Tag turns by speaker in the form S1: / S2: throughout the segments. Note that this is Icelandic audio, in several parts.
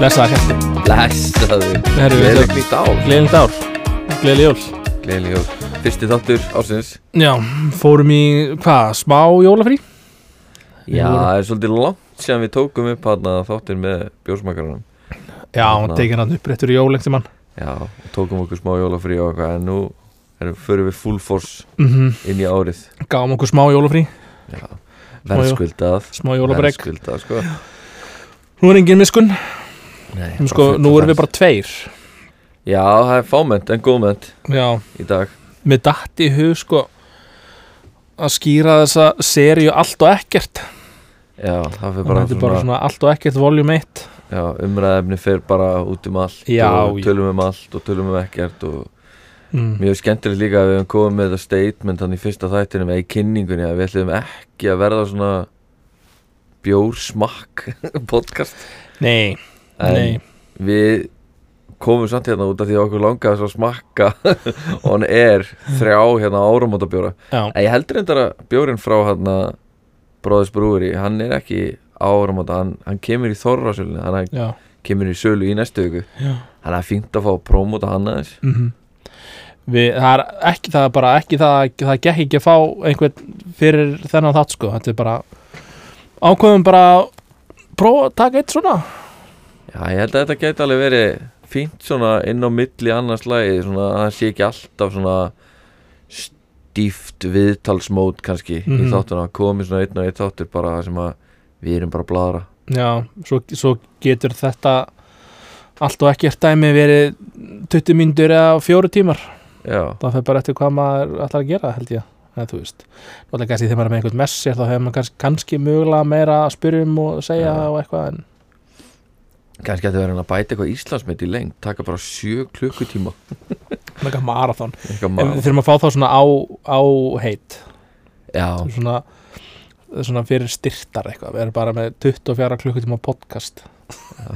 S1: Blessaða hérstu.
S2: Blessaðu
S1: Herru, við
S2: Gleðilegt
S1: þökk-
S2: nýtt ár
S1: Gleðilegt ár. Gleðileg jól.
S2: Gleðileg jól Fyrsti þáttur ársins
S1: Já, fórum í, hvað, smá jólafrí?
S2: Já,
S1: vorum-
S2: það er svolítið langt sem við tókum upp hana þáttir með bjórsmakarunum
S1: Já,
S2: Ná.
S1: hann tekið hann upp réttur í jól eftir mann.
S2: Já, og tókum okkur smá jólafrí og eitthvað En nú erum, förum við full force
S1: Mm
S2: inn í árið
S1: Gáum okkur smá jólafrí,
S2: Já,
S1: Smá jól-
S2: verðskuldað
S1: smá jólabrekk.
S2: Verðskuldað, sko
S1: Nú er engin miskun,
S2: Nei,
S1: Nú sko, nú erum við bara tveir.
S2: Já, það er fámennt en góðmennt
S1: Já,
S2: í dag
S1: mér datt í hug, sko, að skýra þessa seríu allt og ekkert.
S2: Já, það fyrir
S1: Það
S2: bara,
S1: er bara svona allt og ekkert voljum 1.
S2: Já, umræðefni fer bara út um allt
S1: Já,
S2: og
S1: já.
S2: tölum um allt og tölum um ekkert og
S1: Mm.
S2: Mjög skemmtilegt líka að við hefum komið með þetta statement þannig í fyrsta þættinum eða í kynningunni að við ætlum ekki að verða svona bjórsmakk podcast
S1: Nei,
S2: en
S1: nei,
S2: við komum samt hérna út af því að okkur langaði svo að smakka on air þrjá hérna áramótabjóra
S1: já,
S2: en ég heldur reyndar að bjórin frá hérna Bróðis Brúri, hann er ekki á áramóta, hann, hann kemur í þorrasölunni þannig að hann
S1: já,
S2: kemur í sölu í næstu viku
S1: já.
S2: hann er fínt að fá að prómóta hann aðeins
S1: mm Við, það er ekki það er bara ekki það, það gekk ekki að fá einhvern fyrir þennan þátt sko þetta er bara ákveðum bara að prófa að taka eitt svona
S2: Já, ég held að þetta geti alveg verið fínt svona inn á milli annars lagi svona að það sé ekki alltaf svona stíft viðtalsmót kannski í
S1: Mhm.
S2: þáttuna komið svona einn og einn þáttur bara þar sem að við erum bara að bladra
S1: já, svo, svo getur þetta allt og ekkert dæmi verið 20 mínútur eða 4 tímar
S2: Já,
S1: það fer bara eftir hvað maður ætlar að gera held ég eða þú veist, náttúrulega kannski þegar maður er með einhvern messi þá hefur maður kannski, kannski mögulega meira að spyrjum og segja
S2: Já.
S1: og eitthvað en
S2: kannski að þið verðin að bæta eitthvað Íslandsmet í lengt taka bara sjö klukkutíma
S1: eitthvað marathon, en
S2: eitthvað
S1: við
S2: maður
S1: þurfum að fá þá svona á, á heit
S2: Já,
S1: svona, svona fyrir styrtar eitthvað, við erum bara með 24 klukkutíma podcast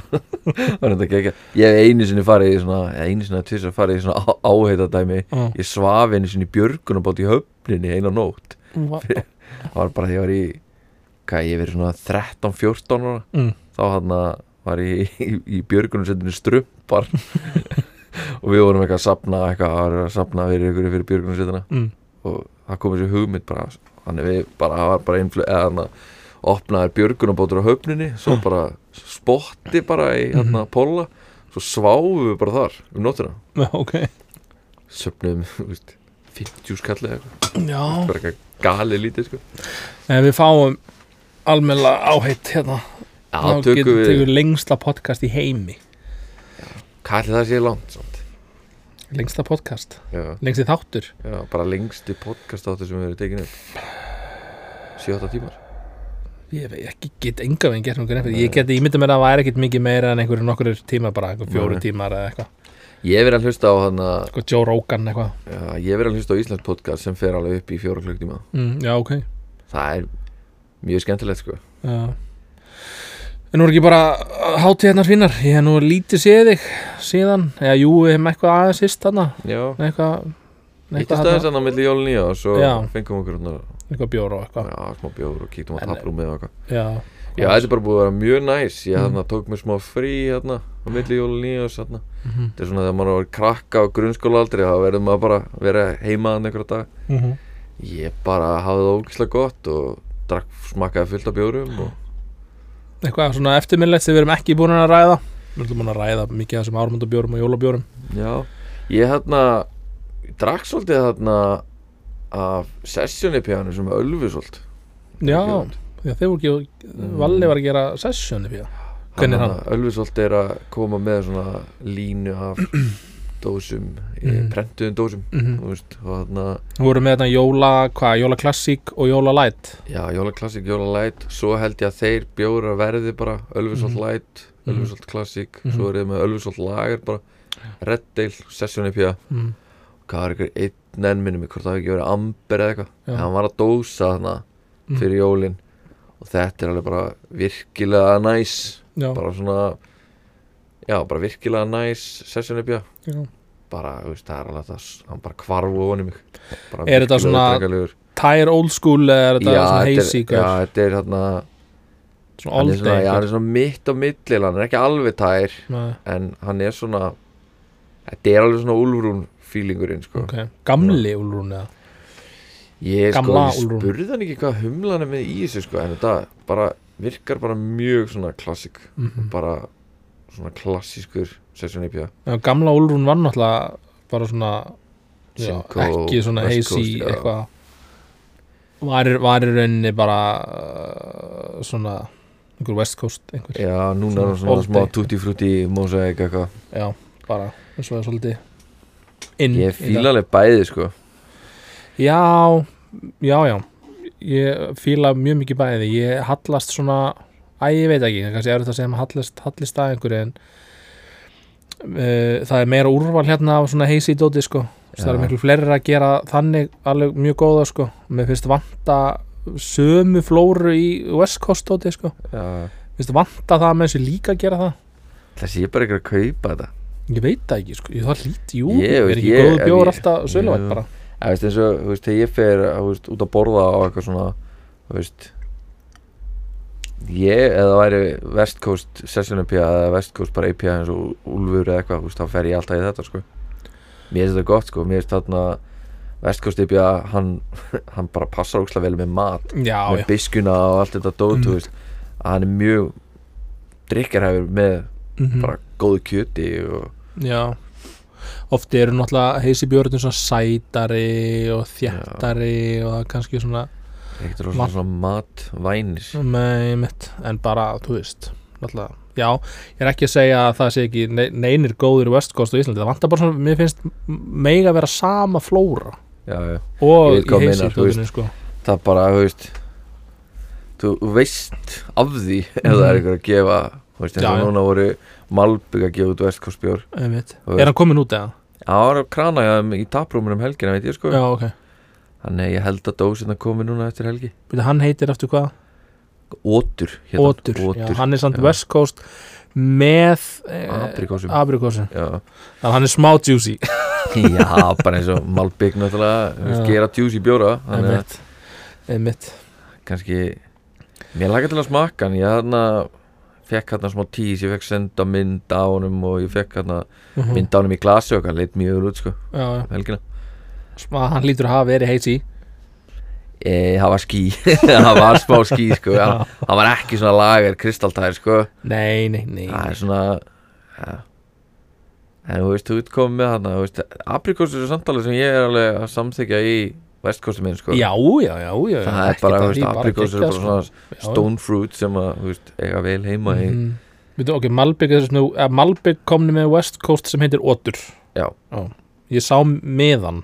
S2: var þetta ekki Ég hef einu sinni farið í svona eða einu sinni að tvisar farið í svona á- áheitadæmi
S1: mm.
S2: Ég svaf einu sinni í björgunabót í höfninni eina nótt það var bara því að ég var í hvað ég verið svona 13-14 ára
S1: Mm.
S2: þá hann var ég í, í björgunarsöndinu strumpar og við vorum eitthvað að sapna eitthvað að vera að sapna fyrir ykkur fyrir björgunarsöndina
S1: Mm.
S2: og það kom þessi hugmynd bara þannig við bara, það var bara einflug eða hann að opnaði björgunabótur á höfninni svo bara spotti bara í hann að póla svo sváum við bara þar um nóttina
S1: Já, ok
S2: söpnum, þú veist 50 skallið eða eitthvað,
S1: Já,
S2: bara eitthvað gali lítið sko.
S1: en við fáum almennilega áheit hérna
S2: Já,
S1: Þá
S2: tökum við
S1: tökum lengsta podcast í heimi
S2: Kalli það sé langt samt
S1: lengsta podcast,
S2: já,
S1: lengsti þáttur
S2: já, bara lengstu podcast áttu sem við erum tekin upp 7-8 tímar
S1: ég veit ekki, get enga veginn gert nokkuð nefnir ég geti, ég myndi mér að það væri ekkit mikið meira en einhverjum nokkur tíma bara, einhverjum fjóru
S2: Nei.
S1: tímar eða eitthvað,
S2: Ég verið að hlusta á hann að
S1: eitthvað Joe Rogan eitthvað
S2: Ég verið að hlusta á Íslands podcast sem fer alveg upp í fjóra klukktíma
S1: mm, já, ok
S2: Það er mjög skemmtilegt sko
S1: Já. En nú er ekki bara hátíðarnar fínar, ég hef nú lítið séð þig síðan, eða jú, við hefum eitthvað aðeins sýst þarna,
S2: Já,
S1: eitthvað,
S2: hittist
S1: þarna,
S2: aðeins hann að milli jólun í og svo
S1: Já.
S2: fengum okkur hann að
S1: eitthvað bjór og eitthvað,
S2: já, smá bjóður og kíktum á
S1: En-
S2: taprúmið og eitthvað
S1: já,
S2: Já, þessi er bara búið að vera mjög næs Ég
S1: Mm.
S2: hann tók mér smá frí hérna á milli jólun í og þarna
S1: mhm,
S2: Þetta er svona þegar maður var krakka á grunnskóla aldrei þá verður maður bara að vera heima hann einhverja dag
S1: mhm.
S2: Ég bara hafði það ógislega gott og drakk smakkaði fullt af bjórum og
S1: eitthvað svona eftirminnlegt sem við erum ekki búin að ræða, við erum búin að ræða mikið af þessum ármundabjórum og jólabjórum,
S2: já, ég hérna drakk svolítið þarna af sessjóni pjánu sem er ölfusolt
S1: já, já, þeir voru ekki, Valli var að gera sessioni fyrir það, Hvernig er hann?
S2: Ölfusolt er að koma með svona línu af dósum, mm.
S1: Mm.
S2: prentuðum dósum
S1: mhm,
S2: þú veist, og þarna
S1: við vorum með þetta jóla, hvað, jólaklassík og jólalæt,
S2: já, jólaklassik, jólalæt svo held ég að þeir bjóra verði bara ölfusolt
S1: Mhm.
S2: læt,
S1: Mhm.
S2: ölfusolt klassik
S1: Mhm.
S2: svo er þið með ölfusolt lager bara Red Dale, sessjóni pjá
S1: mhm,
S2: hvað var ykkur einn enn minnum hvort það hafi ekki verið amber eða eitthvað
S1: Já.
S2: en hann var að dósa þarna
S1: Mm.
S2: fyrir jólin og þetta er alveg bara virkilega næs
S1: já,
S2: bara svona já, bara virkilega næs session uppjá
S1: já.
S2: bara, þú veist, það er alveg það hann bara kvarf og honum ykkur bara
S1: Er þetta
S2: virkilega
S1: svona-
S2: drekalegur.
S1: Tire old school eða er þetta
S2: já,
S1: svona
S2: þetta er-
S1: hazy
S2: já,
S1: gaur?
S2: þetta er hérna
S1: Svona
S2: hann er, svona, já, hann
S1: oldi
S2: er svona mitt á milli hann er ekki alveg tær en hann er svona þetta er alveg svona Ulfrún feelingurinn sko.
S1: Ok, gamli úlrún eða
S2: ég, sko,
S1: Gamla
S2: ég
S1: Úlfrún.
S2: spurði hann ekki hvað humlan er með í þessu sko, en þetta bara virkar bara mjög svona klassik
S1: Mhm.
S2: bara svona klassískur session IPA
S1: Já, gamla úlrún var náttúrulega bara svona já,
S2: Simcoe,
S1: ekki svona
S2: West
S1: hazy
S2: Coast, já.
S1: eitthvað var, var í rauninni bara uh, svona einhver west coast einhver
S2: já núna er hann
S1: Svona
S2: svona smá
S1: old day.
S2: tutti frutti mosaik eitthvað
S1: já, bara eins og það er svolítið inn
S2: ég
S1: í dag.
S2: fíla alveg bæði sko
S1: já, já, já ég fíla mjög mikið bæði ég hallast svona æ, ég veit ekki, kannski er þetta að segja maður hallast, hallist að einhverju en uh, það er meira úrval hérna af svona heisi í dóti sko Þess, það
S2: Já.
S1: er miklu fleiri að gera þannig alveg mjög góða sko mér finnst vanta sömu flóru í West Coast dóti sko mér
S2: já.
S1: finnst vanta það með þessu líka að gera það
S2: þessi ég bara ekki að kaupa þetta
S1: ég veit það ekki sko, ég það lítið, jú
S2: Ég
S1: ég
S2: veit,
S1: er ekki
S2: ég-
S1: góðu
S2: ef
S1: bjóður
S2: ég-
S1: alltaf söluvætt
S2: Jú.
S1: bara
S2: Já, veist, eins og, þú veist, þegar ég fer þú veist, út að borða á eitthvað svona þú veist ég, eða það væri West Coast Session IPA eða West Coast bara IPA eins og Úlfur eða eitthvað, þú veist, þá fer ég alltaf í þetta sko. mér finnst þetta gott, sko mér finnst þarna West Coast IPA hann, hann bara passar ógslag vel með mat
S1: já,
S2: með
S1: já,
S2: biskuna og allt þetta dót,
S1: Mm.
S2: þú veist að hann er mjög drikkarhæfur með
S1: Mhm.
S2: bara góðu kjöti og
S1: Já Ofti eru náttúrulega heisi björnum svona sætari og þjættari og það er kannski svona
S2: ekkert
S1: Mat- Mm.
S2: rosalega svona matvænis
S1: með mitt en bara, þú veist, náttúrulega Já, ég er ekki að segja að það sé ekki ne- neinir góðir West Coast og Íslandi það vantar bara svona, mér finnst mega vera sama flóra
S2: já, já
S1: og
S2: Ég veit
S1: í
S2: hvað þú
S1: heisi
S2: meinar, þú
S1: dótinu, sko
S2: það bara, þú veist þú veist af því ef það er
S1: Mhm.
S2: ykkur að gefa þú veist, eins
S1: Já,
S2: og
S1: já.
S2: núna voru Malbygg að gefa út vestkostbjór
S1: Einmitt.
S2: Og-
S1: Er hann komin út eða?
S2: það var að krana ég um, í taprúminu um helgina, veit ég sko
S1: Já, ok
S2: þannig að ég held að dósina komi núna eftir helgi
S1: Býtu, Hann heitir eftir hvað?
S2: Ótur, hérna
S1: Otur, Já,
S2: Otur.
S1: hann er samt
S2: Já.
S1: West Coast með
S2: Aprikósum.
S1: Abrikosum
S2: Já.
S1: Þannig að hann er smá juicy
S2: já, bara eins og Malbygg náttúrulega þú veist,
S1: Já.
S2: gera djús í bjóra þannig að
S1: Einmitt Einmitt
S2: kannski mér lagar til að smakka hann ég þarna fekk hérna smá tís, ég fekk senda mynd á honum og ég fekk hérna
S1: Mhm.
S2: mynd á honum í glasi og hann leitt mjög vel út sko,
S1: Já, já.
S2: um helgina
S1: Sma, hann lítur að hafa verið heisi
S2: Eh, það var ský, það var smá ský sko, það, það var ekki svona lager kristaltær sko,
S1: Nei, nei, nei
S2: það er svona ja. en þú veist, þú ert komið með þarna, þú veist, aprikosur er samtalið sem ég er alveg að samþykja í vestkostum minn sko,
S1: Já, já, já, já
S2: það er
S1: ekkert
S2: bara,
S1: að
S2: þú
S1: því,
S2: veist, aprikosur er
S1: geggjað,
S2: bara svona
S1: sko. Já, já.
S2: stone fruit sem að, þú veist, eiga vel heima í,
S1: Mhm. Veitu, ok, Malbygg er svona að Malbygg komni með West Coast sem heitir Otur
S2: Já.
S1: Ég sá meðan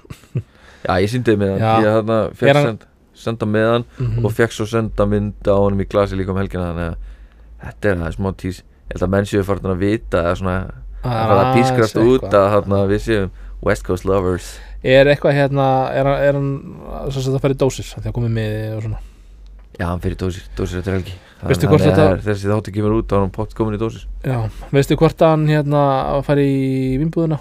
S2: já, ég síndi með
S1: Já.
S2: hann ég þarna
S1: Er
S2: fekk
S1: hann-
S2: send, senda með hann
S1: Mhm.
S2: og fekk svo senda mynd á honum í glasi líka um helgina, þannig að þetta er það smá tís, ég held að menn séu farin að vita að svona Það var að
S1: aðeins
S2: pískrast út
S1: Ah, eitthvað.
S2: að þarna, við séum West Coast Lovers
S1: Er eitthvað hérna, er, hann- er hann sem sagt að fara í dósir, því að komið með og svona
S2: Já, hann fyrir dósir, dósir eftir helgi
S1: Veistu hvort
S2: Þannig að
S1: þetta-
S2: er- Þessi þáttu kemur út, þá er hann pott komin í dósir
S1: Já, veistu hvort hann hérna að fara í vinnbúðuna?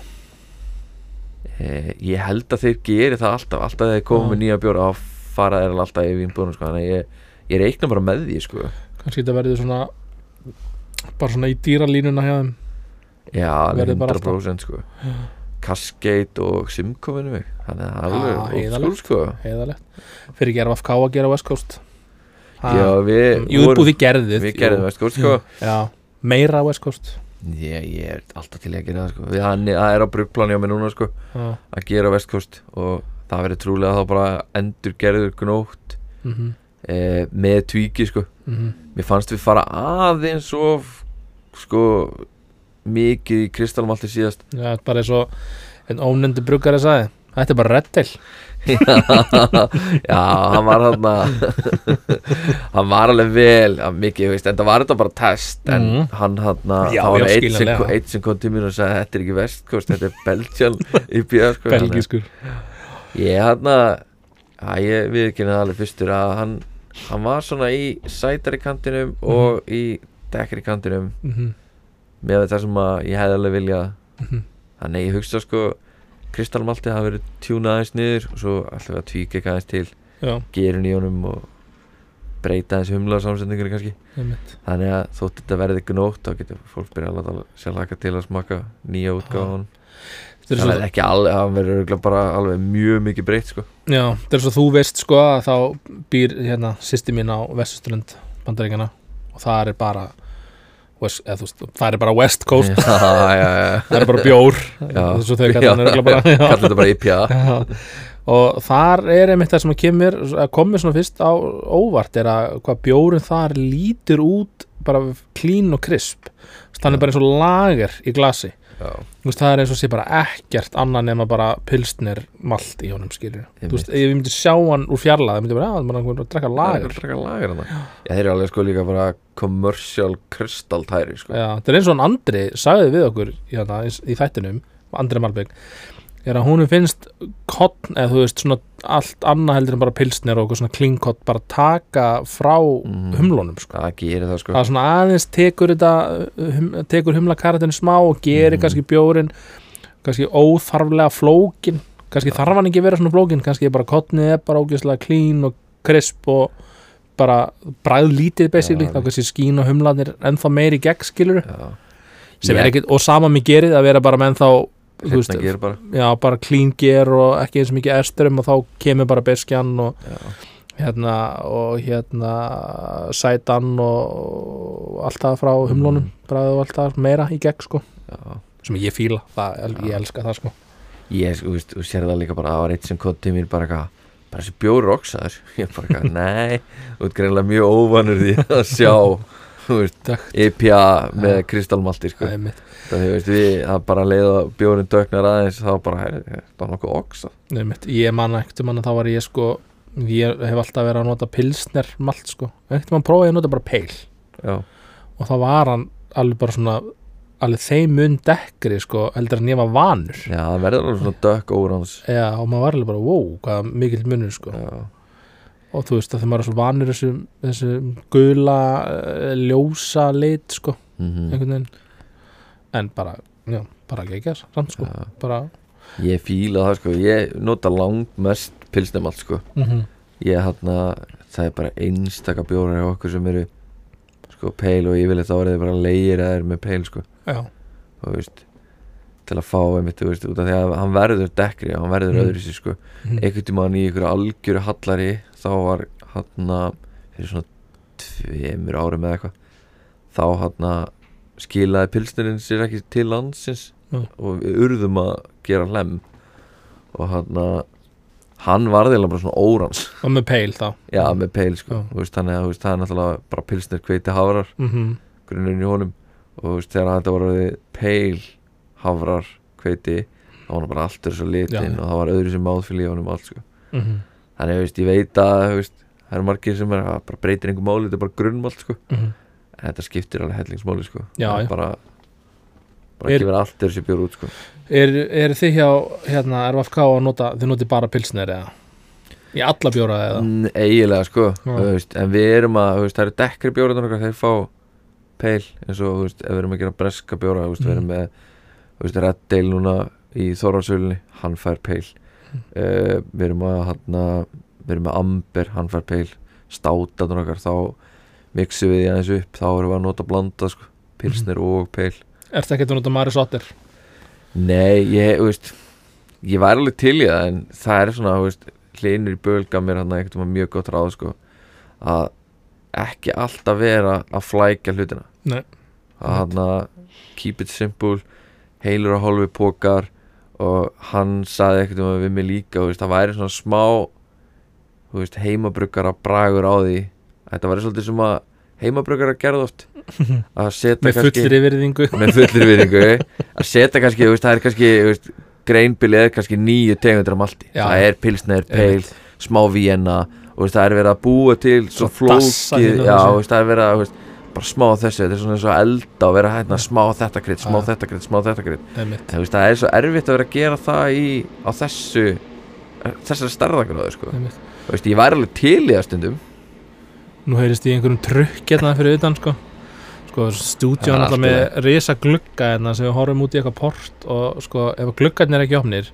S2: eh, Ég held að þeir geri það alltaf Alltaf þegar þeir komum
S1: Já.
S2: með nýja bjóra að fara þeir alltaf í vinnbúðunum sko. Þannig að ég, ég reikna bara með því sko.
S1: Kannski þetta verður svona bara svona í dýralínuna hjá þeim
S2: Já,
S1: Verður bara
S2: 100% sko. Cascade og Simco minnum mig Þannig að það er
S1: Ah,
S2: alveg old
S1: heiðarlegt.
S2: school, sko.
S1: heiðalegt fyrir gerfa FK að gera West Coast Ha,
S2: Já, við,
S1: jú, voru, þið gerðið
S2: við gerðum West Coast sko.
S1: já, meira West Coast
S2: ég, ég er alltaf til í að gera það sko. Við- hann- Það er á brugplani á mig núna sko.
S1: já,
S2: að gera vestkust og það verður trúlega þá bara endur gerður gnótt
S1: mm -hmm,
S2: e, með tvíki sko
S1: Mhm.
S2: mér fannst við fara aðeins of sko mikið í kristalmalti síðast
S1: já, bara eins og en ónefndi bruggar að sagði þetta er bara rettil
S2: já, hann var hann hann var alveg vel að mikið, þú veist, en það var þetta bara test en
S1: Mhm.
S2: hann hann að
S1: Já,
S2: það var
S1: já,
S2: eitt sem,
S1: skiljanlega.
S2: eitt sem kom til mér og sagði þetta er ekki vestkust, þetta er Belgian IPA sko, þannig að-
S1: belgiskur
S2: Ég hann að ég viðkynna alveg fyrstur að hann, hann var svona í sætari kantinum
S1: Mhm.
S2: og í dekkri kantinum
S1: mm
S2: með það sem að ég hefði alveg viljað
S1: Mhm.
S2: þannig ég hugsa sko kristalmalti hafa verið tjúnað aðeins niður og svo alltaf að tvíka eitthvað aðeins til
S1: já,
S2: gerin í honum og breyta þessi humlaða samsetningunni kannski
S1: einmitt.
S2: þannig að þótt þetta verði ekki nótt þá getur fólk byrjað að láta sér laka til að smaka nýja útgáðan
S1: Þetta er
S2: það
S1: svo-
S2: verði ekki alveg, það verður örugglega bara alveg mjög mikið breytt sko
S1: Já, þetta er svo þú veist sko að þá býr hérna sýsti mín á Vestuströnd bandaríkjana og það er bara West, eða, þú veist, það er bara West Coast
S2: já, já, já,
S1: það er bara bjór
S2: já.
S1: þessu þau kallar hann örugglega bara já.
S2: kallar þetta bara IPA
S1: Já. og þar er einmitt það sem kemur, komið svona fyrst á óvart er að hvað bjórun þar lítur út bara clean og crisp þannig bara eins og lager í glasi
S2: já,
S1: Þú veist, það er eins og sé bara ekkert annað nema bara pilsnir malt í honum skilur þú
S2: Einmitt.
S1: veist, ef ég myndi sjá hann úr fjarlæð það myndi bara, já, það er bara einhvern að drekka lager
S2: lagar, lagar já, þeir eru alveg sko líka bara commercial crystal tæri sko
S1: Já, það er eins og hann Andri sagði við okkur hérna, í, í þættinum, Andri Malbygg er að húnum finnst kottn, eða þú veist, svona allt annað heldur en bara pilsnir og eitthvað svona klingkott bara taka frá
S2: Mhm.
S1: humlunum sko.
S2: það gerir það sko
S1: það svona aðeins tekur þetta uh, hum, tekur humlakaratinu smá og gerir
S2: Mhm.
S1: kannski bjórin kannski óþarflega flókin kannski þarf hann ekki að vera svona flókin kannski er bara kottnið er bara ógeðslega clean og crisp og bara bræðlítið basically,
S2: Já,
S1: þá kannski skín og humlanir ennþá meiri gegn skilur
S2: já,
S1: sem
S2: Ég-
S1: er ekkit, og sama mér gerið að vera bara með þá þú veist,
S2: hérna gerir bara
S1: já, bara clean gear og ekki eins mikið esturum og þá kemur bara beskjan og
S2: Já.
S1: hérna og hérna sætan og allt það frá humlunum
S2: Mm.
S1: bræðu og allt það meira í gegn sko
S2: já
S1: sem ég fíla, það, ég elska það sko
S2: ég, þú veist, þú sér það líka bara það var eitt sem kom til mér bara eitthvað bara þessi bjóri roxaður ég bara eitthvað, nei, þú ert greinlega mjög óvanur því að sjá þú veist,
S1: Dökkt.
S2: IPA með kristalmalti sko.
S1: það er mitt,
S2: það þú veist, við, það bara leið að bjórin dögnar aðeins, þá bara "Heyrðu, er það nokkuð oxa
S1: það er mitt ég man ekkert um hann að þá var ég sko ég hef alltaf verið að nota pilsner malt sko, ekkert mann prófaði að nota bara peil
S2: já,
S1: og þá var hann alveg bara svona alveg þeim mun dekkri sko heldur en ég var vanur
S2: já, það verður alveg svona dökk órans
S1: Já, og maður var alveg bara, wow, hvað mikill munur sko.
S2: já,
S1: og þú veist að þegar maður er svo vanur þessu, þessu gula eh, ljósa lit sko,
S2: mhm,
S1: einhvern veginn en bara, já, bara gekkja samt sko,
S2: já.
S1: bara
S2: ég fíla það sko ég nota langt mest pilsnumalt sko
S1: mm -hmm.
S2: ég hérna, það er bara einstaka bjórar hjá okkur sem eru sko peil og yfirleitt þá eru þið bara leigir að þeir með peil sko
S1: já,
S2: og, þú veist, til að fá einmitt þú veist, út af því að hann verður dekkri hann verður
S1: Mm.
S2: mm. öðru sér sko
S1: mhm.
S2: einhvern tímann í ykkur algjöru hallari þá var hann fyrir svona tveimur árum eða eitthvað þá hann skilaði pilsnirinn sér ekki til landsins
S1: Já.
S2: og við urðum að gera hlem og hann hann varði bara svona órans
S1: og með peil þá
S2: Já, með peil sko
S1: Já.
S2: Þú veist, Þannig að þú veist, það er náttúrulega bara pilsnir hveiti hafrar
S1: mm
S2: grunnurinn í honum og þú veist, þegar þetta var orðið peil hafrar hveiti þá var hann bara alltaf svo litinn
S1: Já.
S2: og það var öðru sem máðfylg í honum og allt sko
S1: mhm,
S2: Þannig að þú veist, ég veit að þú veist, það eru margir sem er að bara breytir einhver máli þetta er bara grunnmált sko
S1: mhm.
S2: en þetta skiptir alveg hellingsmáli sko
S1: Já,
S2: Það
S1: já.
S2: er bara bara
S1: Er-
S2: gefur allt þessi bjór út sko
S1: er, er þið hjá hérna, er VFK að nota, þið notið bara pilsner eða í alla bjóra eða
S2: Mm, eiginlega sko
S1: Já.
S2: þú veist, en við erum að, þú veist, það eru dekkri bjóra okkar, þeir fá peil eins og, þú veist, ef við erum að gera breska bjóra þú veist, við erum
S1: Mm.
S2: með, þú veist, Red Dale núna í Þorvarsölunni, hann fær peil
S1: Mm.
S2: uh, við erum að hann við erum með Amber, hann fær peil státanur okkar, þá mixum við því aðeins upp, þá erum við að nota blanda sko,
S1: Mm.
S2: pilsnir og peil
S1: er þetta ekkert að nota Maris Otter
S2: Nei, ég, þú veist Ég var alveg til í það en það er svona, þú veist Hlinur í bölga mér hann eitthvað mjög gott ráð sko, að ekki alltaf vera að flækja hlutina
S1: Nei.
S2: að hann að keep it simple heilur og hálfi pókar og hann saði eitthvað um við mig líka þú veist, það væri svona smá þú veist, heimabruggara bragur á því þetta væri svolítið sem að heimabruggara gerðu oft að setja
S1: með
S2: kannski-
S1: fullri virðingu
S2: með fullir viðingu að setja kannski, þú veist, það er kannski þú veist, greinbilið er kannski nýju tegundur af malti,
S1: Já.
S2: það er pilsner, peil
S1: Einmitt.
S2: smá víenna, þú veist, það er verið að búa til svo
S1: Svona dassa
S2: flókið
S1: hérna
S2: já,
S1: þessu.
S2: þú veist, það er verið að, þú veist, bara smá af þessu þetta er svona eins og að elda og vera hérna smá þetta krydd, smá
S1: Já.
S2: þetta krydd, smá þetta krydd
S1: Einmitt.
S2: þú veist, það er svo erfitt að vera að gera það í á þessu þessari starðakunnaðu, sko
S1: Einmitt.
S2: þú veist, ég væri alveg til í það stundum
S1: Nú heyrist ég í einhverjum trukk hérna fyrir utan sko Sko, stúdíu
S2: Það er
S1: alltaf
S2: allt í
S1: með risa glugga hérna sem við horfum út í eitthvað port og sko, ef gluggarnir er ekki opnir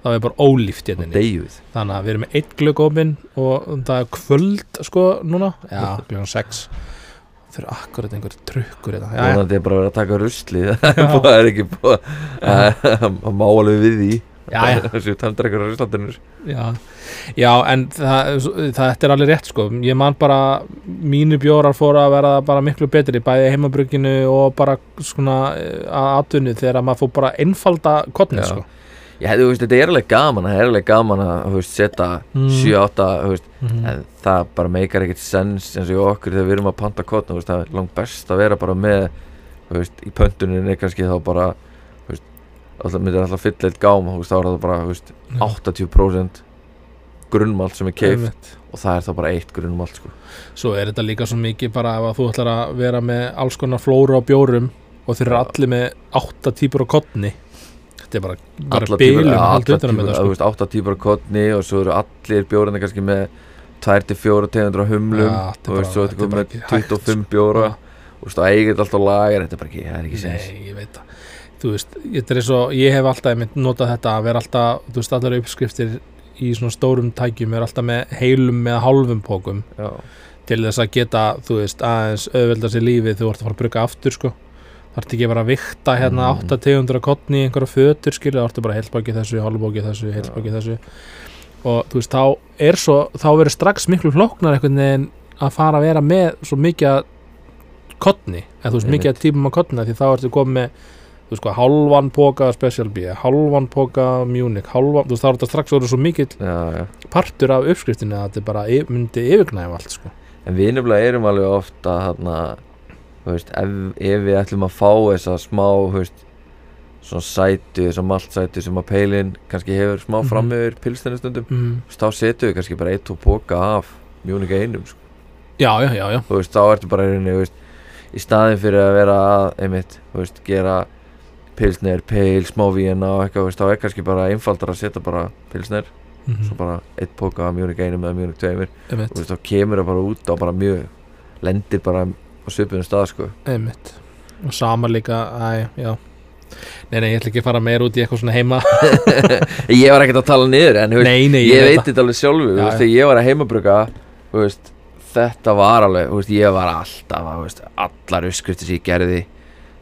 S1: það er bara ólíft hérna inni.
S2: deyfið
S1: þannig að við erum með eitt glögg opinn og það er kvöld sko núna já, klukkan 6 þau eru akkurat einhver trukkur þetta já, já,
S2: vonandi er bara að vera að taka rusli það er ekki búið að- að má alveg við því
S1: já, já,
S2: þessu tæmdar eitthvað ruslandunir
S1: já. já en það, þetta er alveg rétt sko ég man bara, mínu bjórar fóru að vera bara miklu betri, bæði í heimabrugginu og bara svona eh, að atvinnu þegar maður fór bara einfalda kottnir
S2: Já.
S1: sko
S2: Já, þú veist, þetta er alveg gaman, það er alveg gaman að, þú veist, setja
S1: Mm.
S2: 7-8, þú veist,
S1: Mhm.
S2: en það bara meikar ekkert sens eins og í okkur þegar við erum að panta kotna, þú veist, það er langt best að vera bara með, þú veist, í pöntuninni kannski þá bara, þú veist, alltaf myndir alltaf fylla eitt gám, þú veist, þá er það bara, þú veist,
S1: Já.
S2: 80% grunnmalt sem er keift
S1: Einmitt.
S2: og það er þá bara eitt grunnmalt, sko.
S1: Svo er þetta líka svo mikið bara ef að þú ætlar að vera með alls konar flóru á bjórum og þeir eru allir með átta típur á kottni Þetta er bara, bara
S2: Allar
S1: bílum
S2: ja,
S1: allt
S2: allar
S1: utan um
S2: típur,
S1: þetta
S2: þú
S1: sko.
S2: veist, 8 típur af kotni og svo eru allir bjórinni kannski með 2-4 tegundur á humlum,
S1: Ja, þetta er
S2: þú veist,
S1: bara-
S2: svo
S1: þetta er
S2: þetta
S1: bara
S2: komið
S1: ekki
S2: með
S1: hægt, sko.
S2: 25 bjóra Þú veist, það eigið alltaf lagar, þetta er bara ekki, það er ekki sens.
S1: Nei, ég veit það Þú veist, þetta er svo, ég hef alltaf einmitt notað þetta að vera alltaf, þú veist, allar uppskriftir í svona stórum tækjum er alltaf með heilum með hálfum pókum
S2: Já,
S1: til þess að geta, þú veist, aðeins auðvelda sér lífið þú ert að fara að bruka aftur sko Það ertu ekki bara að vikta hérna
S2: Mm.
S1: 8 tegundur á kottni í einhverja fötur skilja, það ertu bara heilbókið þessu, hálfbókið þessu, heilbókið þessu og þú veist, þá er svo, þá verður strax miklu flóknar einhvern veginn að fara að vera með svo mikið að kottni, eða þú veist, mikið að típum að kottna því þá ertu komið með, þú veist hvað, hálfan póka af Special B, hálfan póka af Munich, hálfan, þú veist, þá er þetta strax orðið svo mikið
S2: já, já.
S1: partur af uppskriftinu að þetta bara yf- myndi yfirgnæfa allt, sko.
S2: En við nefnilega erum alveg oft að þarna, þú veist, ef, ef við ætlum að fá þessa smá, þú veist, svona sætu, svona maltsætu sem að peilin kannski hefur smá
S1: Mhm.
S2: fram yfir pilsinu stundum,
S1: Mm.
S2: þú veist, þá setjum við kannski bara eitt og póka af mjónika einum, sko.
S1: Já, já, já, já.
S2: Þú veist, þá ertu bara í rauninni, þú veist, í staðin fyrir að vera að, einmitt, þú veist, gera pilsnir, peil, smá vína og eitthvað, þú veist, þá er kannski bara einfaldar að setja bara pilsnir
S1: Mm
S2: svo bara eitt póka af mjónik einum eða mjónik tveimur og
S1: einmitt,
S2: veist, þá kemur það bara út á bara mjög lendir bara á svipunum stað sko.
S1: einmitt og sama líka, æ, já Nei, nei, ég ætla ekki að fara meir út í eitthvað svona heima
S2: ég var ekkert að tala niður en þú veist,
S1: Nei, nei,
S2: ég,
S1: ég,
S2: veit þetta alveg sjálfu
S1: Já,
S2: þú veist, þegar ég var að heimabruka þú veist, þetta var alveg þú veist, ég var alltaf að, þú veist, allar uppskriftir sem ég gerði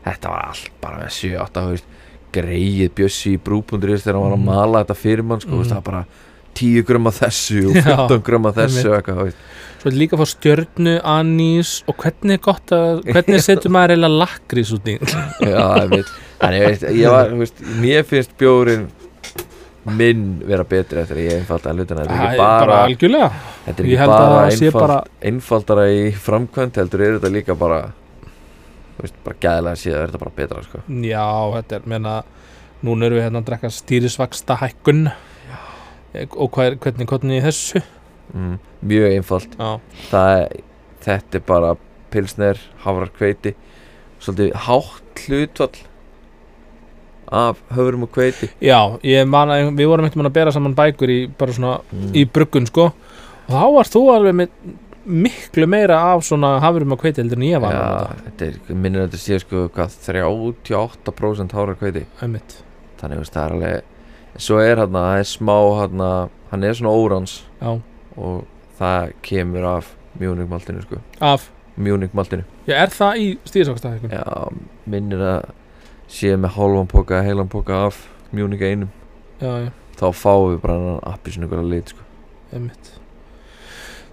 S2: þetta var allt bara með 7-8 þú veist, greið bjössi í brúbundur þegar hann var að
S1: Mhm.
S2: mala þetta fyrir mann sko, þú veist,
S1: Mhm.
S2: það var bara 10 gröma þessu og
S1: Já,
S2: 15 gröma þessu og eitthvað, þú veist.
S1: Svo er líka að fá stjörnu, anís og hvernig er gott að, hvernig setur maður eiginlega lakrís út í
S2: Já, einmitt. þannig veist, ég var, þú veist, mér finnst bjórin minn vera betri eftir að ég einfalda hlutina þetta er
S1: Æ,
S2: ekki bara,
S1: algjörlega
S2: þetta er
S1: ég
S2: ekki
S1: held að
S2: bara,
S1: það sé
S2: einfald,
S1: bara-
S2: einfaldara í framkvæmt heldur er þetta líka bara þú veist, bara gæðilega síðan er þetta bara betra sko.
S1: Já, þetta er, menna núna erum við hérna að drekka stýrisvaksta hækkun og hver, hvernig hvernig í þessu
S2: mm, mjög einfalt
S1: Já,
S2: það er, þetta er bara pilsner, hafrar kveiti svolítið hátt hlutvall af höfurum og kveiti
S1: já ég man að við vorum eitthvað að bera saman bækur í bara svona
S2: mm.
S1: í bruggun sko og þá varst þú alveg með miklu meira af svona hafurum að kveiti heldur en ég var með
S2: Já, þetta er, minnir að þetta sé sko hvað 38% hára kveiti
S1: þetta, einmitt
S2: þannig þú veist, það er alveg svo er hann það er smá hann hann er svona órans
S1: já,
S2: og það kemur af Munich maltinu sko
S1: af,
S2: Munich maltinu
S1: já er það í stýrisvakstæðikun
S2: já, minnir að sé með hálfan poka eða heilan poka af Munich einum
S1: já, já,
S2: þá fáum við bara hann appi svona ykkur að lit sko
S1: einmitt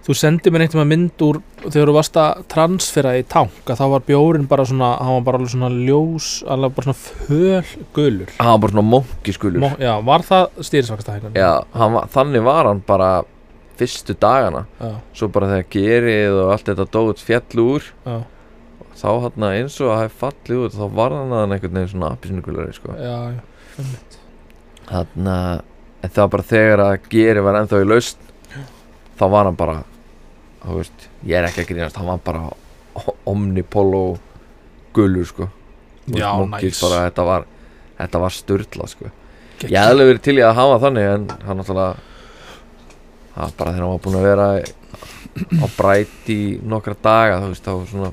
S1: þú sendið mér einhvern veginn mynd úr þegar þú varst að transfera í tank að þá var bjórin bara svona, hann var bara alveg svona ljós, alveg bara svona föl gulur,
S2: hann var bara svona monki skulur
S1: Mó, já, var það stýrisvakstæðikun
S2: já, hann var, þannig var hann bara fyrstu dagana
S1: já,
S2: svo bara þegar gerið og allt þetta dót fjall úr
S1: já,
S2: þá hann eins og að það hef fallið út þá var hann að hann einhvern veginn svona appisnukulari sko.
S1: já, já, einmitt
S2: hann að það var bara þegar að Geri var ennþá í laust þá var hann bara þú veist, ég er ekki að grínast hann var bara o- omnipolo gulur sko Þú veist,
S1: já,
S2: Monkeys
S1: næs
S2: bara, þetta var þetta var styrla sko
S1: Geggjað.
S2: ég hef alveg verið til í að hafa þannig en hann náttúrulega það var bara þegar hann var búin að vera á brætt í nokkra daga þú veist þá svona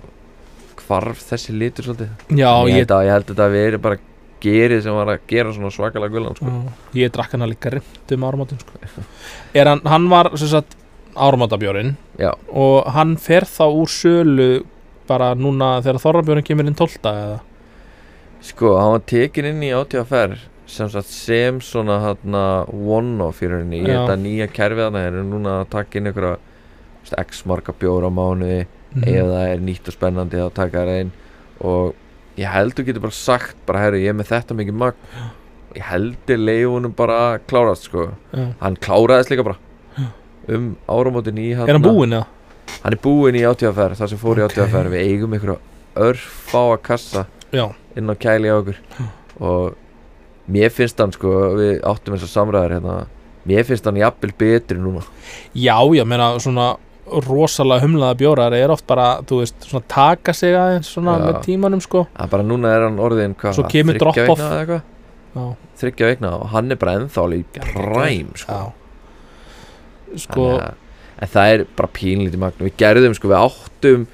S2: hvarf þessi litur svolítið
S1: já,
S2: ég,
S1: ég,
S2: held að, ég held að þetta veri bara skerið sem var að gera svona svakalega gulan sko.
S1: Ég drakk hann líka rimt um áramótin sko. Er hann, hann var sem sagt áramótabjórin
S2: Já,
S1: og hann fer þá úr sölu bara núna þegar þorrabjórin kemur inn 12 eða
S2: sko, hann var tekin inn í átíðaferð sem sagt sem svona hann one-off í rauninni í
S1: Já.
S2: þetta nýja kerfið hann er núna að taka inn einhverja þú veist, x marka bjóra á mánuði
S1: Mhm.
S2: ef það er nýtt og spennandi þá taka það einn og ég held þú getur bara sagt bara herru ég er með þetta mikið magn ég held ég leifunum bara að klárast sko
S1: Já.
S2: hann kláraðist líka bara um áramótin í hann
S1: Er hann búinn eða?
S2: hann er búinn í átíðaferð þar sem fór í
S1: Ok.
S2: átíðaferð við eigum einhverja örfáa kassa
S1: Já, Hm.
S2: inn á kæli á okkur og mér finnst hann sko við áttum eins og samræðar hérna mér finnst hann jafnvel betri núna
S1: já, ég meina svona rosalega humlaða bjórar er oft bara, þú veist, svona taka sig aðeins svona
S2: Já.
S1: með tímanum sko
S2: að bara núna er hann orðin hvað
S1: Svo kemur
S2: þriggja
S1: drop-off.
S2: vikna eða eitthvað?
S1: Já,
S2: þryggja veikna og hann er bara ennþá í
S1: Já,
S2: præm sko.
S1: já. Sko,
S2: Þannig að- en það er bara pínlítið magn við gerðum sko, við áttum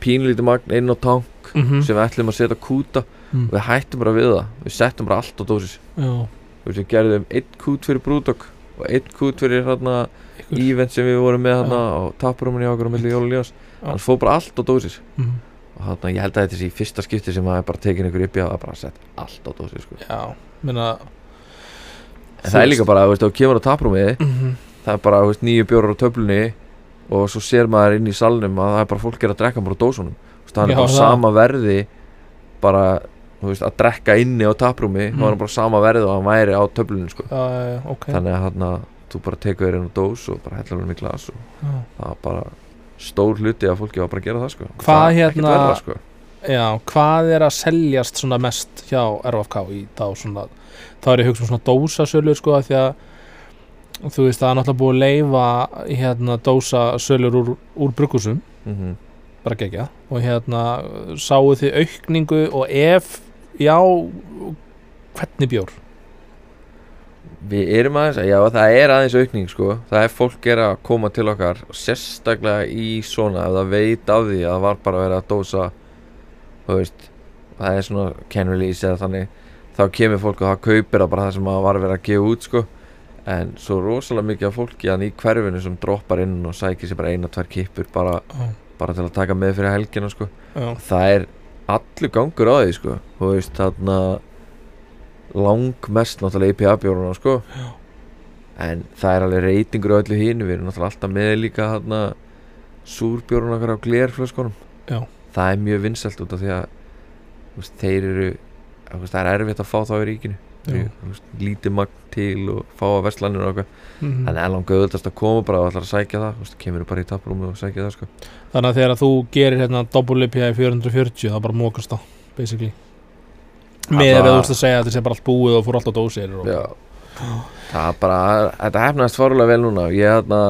S2: pínlítið magn inn á tank
S1: mhm,
S2: sem við ætlum að setja á kúta
S1: Mm.
S2: við hættum bara við það, við settum bara allt á dósis
S1: já,
S2: við sem gerðum einn kút fyrir brúdokk og einn kút fyrir hérna
S1: ykkur
S2: event sem við vorum með hérna og taprumun í okkur og milli jól og ljós
S1: Já.
S2: hann fór bara allt á dósis
S1: mhm.
S2: og þarna ég held að þetta sé í fyrsta skipti sem maður bara tekin ykkur upp í að bara setja allt á dósis sko.
S1: Já, meina
S2: en það er líka bara, þú veist, ef þú kemur á taprumið
S1: mm -hmm.
S2: það er bara þú veist, nýju bjórar á töflunni og svo sér maður inn í salnum að það er bara fólk er að drekka bara á dósunum Þú veist, það
S1: Já,
S2: er bara
S1: það.
S2: sama verði bara þú veist, að drekka inni á taprúmi
S1: Mm.
S2: þá er hann bara sama verði og hann væri á töflunum sko.
S1: uh, Ok
S2: þannig að hann þú bara tekur þér inn á dós og bara hellar hann í glas og
S1: Já.
S2: það er bara stór hluti að fólki var bara að gera það sko.
S1: Hvað
S2: það er ekkert
S1: hérna-
S2: verra, sko.
S1: Já, hvað er að seljast svona mest hjá RFK í þá svona þá er ég að hugsa um svona dósasölur sko af því að þú veist það er náttúrulega búið að leifa hérna dósasölur úr, úr brugghúsum
S2: mm
S1: bara gegja og hérna sáu þið aukningu og ef já, hvernig bjór
S2: við erum aðeins, já það er aðeins aukning sko, það er fólk er að koma til okkar og sérstaklega í svona ef það veit af því að það var bara að vera að dósa þú veist það er svona can release eða þannig þá kemur fólk og það kaupir það bara það sem það var að vera að gefa út sko en svo rosalega mikið af fólki hann í hverfinu sem droppar inn og sækir sér bara eina, tvær kippur bara,
S1: Já.
S2: bara til að taka með fyrir helgina sko
S1: Já,
S2: það er allur gangur á því sko þú veist þarna langmest náttúrulega IPA bjóruna sko en það er alveg reytingur á öllu hínu við erum náttúrulega alltaf með líka þarna súrbjóruna okkar á
S1: Já.
S2: glerflöskunum það er mjög vinsælt út af því að þú veist, þeir eru þú veist, það er erfitt að fá þá í ríkinu
S1: já.
S2: Þú veist, lítið magn til og fá að verslanir og eitthvað
S1: Mm
S2: þannig er langt auðvitast að koma bara og ætlar að sækja það þú veist, kemur bara í taprúmi og sækja það sko
S1: Þannig að þegar þú gerir hérna double IPA í 440 þá bara mókast það basically með
S2: Alla-
S1: að þú veist að segja að þetta sé bara allt búið og fór allt á dósir og...
S2: Já Það er bara, þetta hefnaðist farulega vel núna Ég, hérna,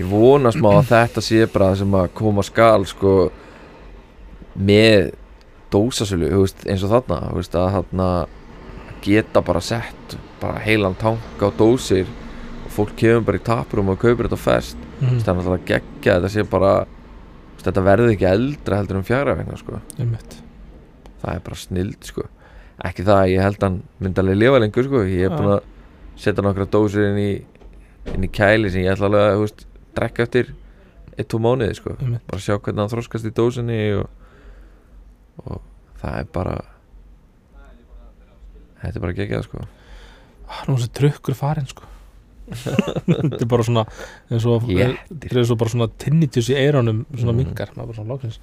S2: ég vona smá að þetta sé bara það sem að koma skal sko með dósasölu þú veist, eins og þarna þú veist, að þarna geta bara sett bara heilan tank á dósir og fólk kemur bara í taprum og kaupir þetta fest mm.
S1: Mhm,
S2: það er náttúrulega geggja þetta sé bara þú veist, þetta verði ekki eldra heldur um fjara vegna sko
S1: einmitt.
S2: það er bara snild sko ekki það að ég held að hann myndi alveg lifa lengur sko ég er
S1: Já.
S2: búin að setja nokkra dósir inn í inn í kæli sem ég ætla alveg að þú veist, drekka eftir eitt tvo mánuði sko
S1: Einmitt.
S2: bara sjá hvernig hann þroskast í dósinni og, og það er bara þetta er bara geggjað sko
S1: Ah, Nú er þessi trukkur farinn sko Þetta er bara svona eins og, yeah.
S2: léttir
S1: eins og bara svona tinnitus í eironum svona
S2: Mhm.
S1: mingar, maður bara svona lóksins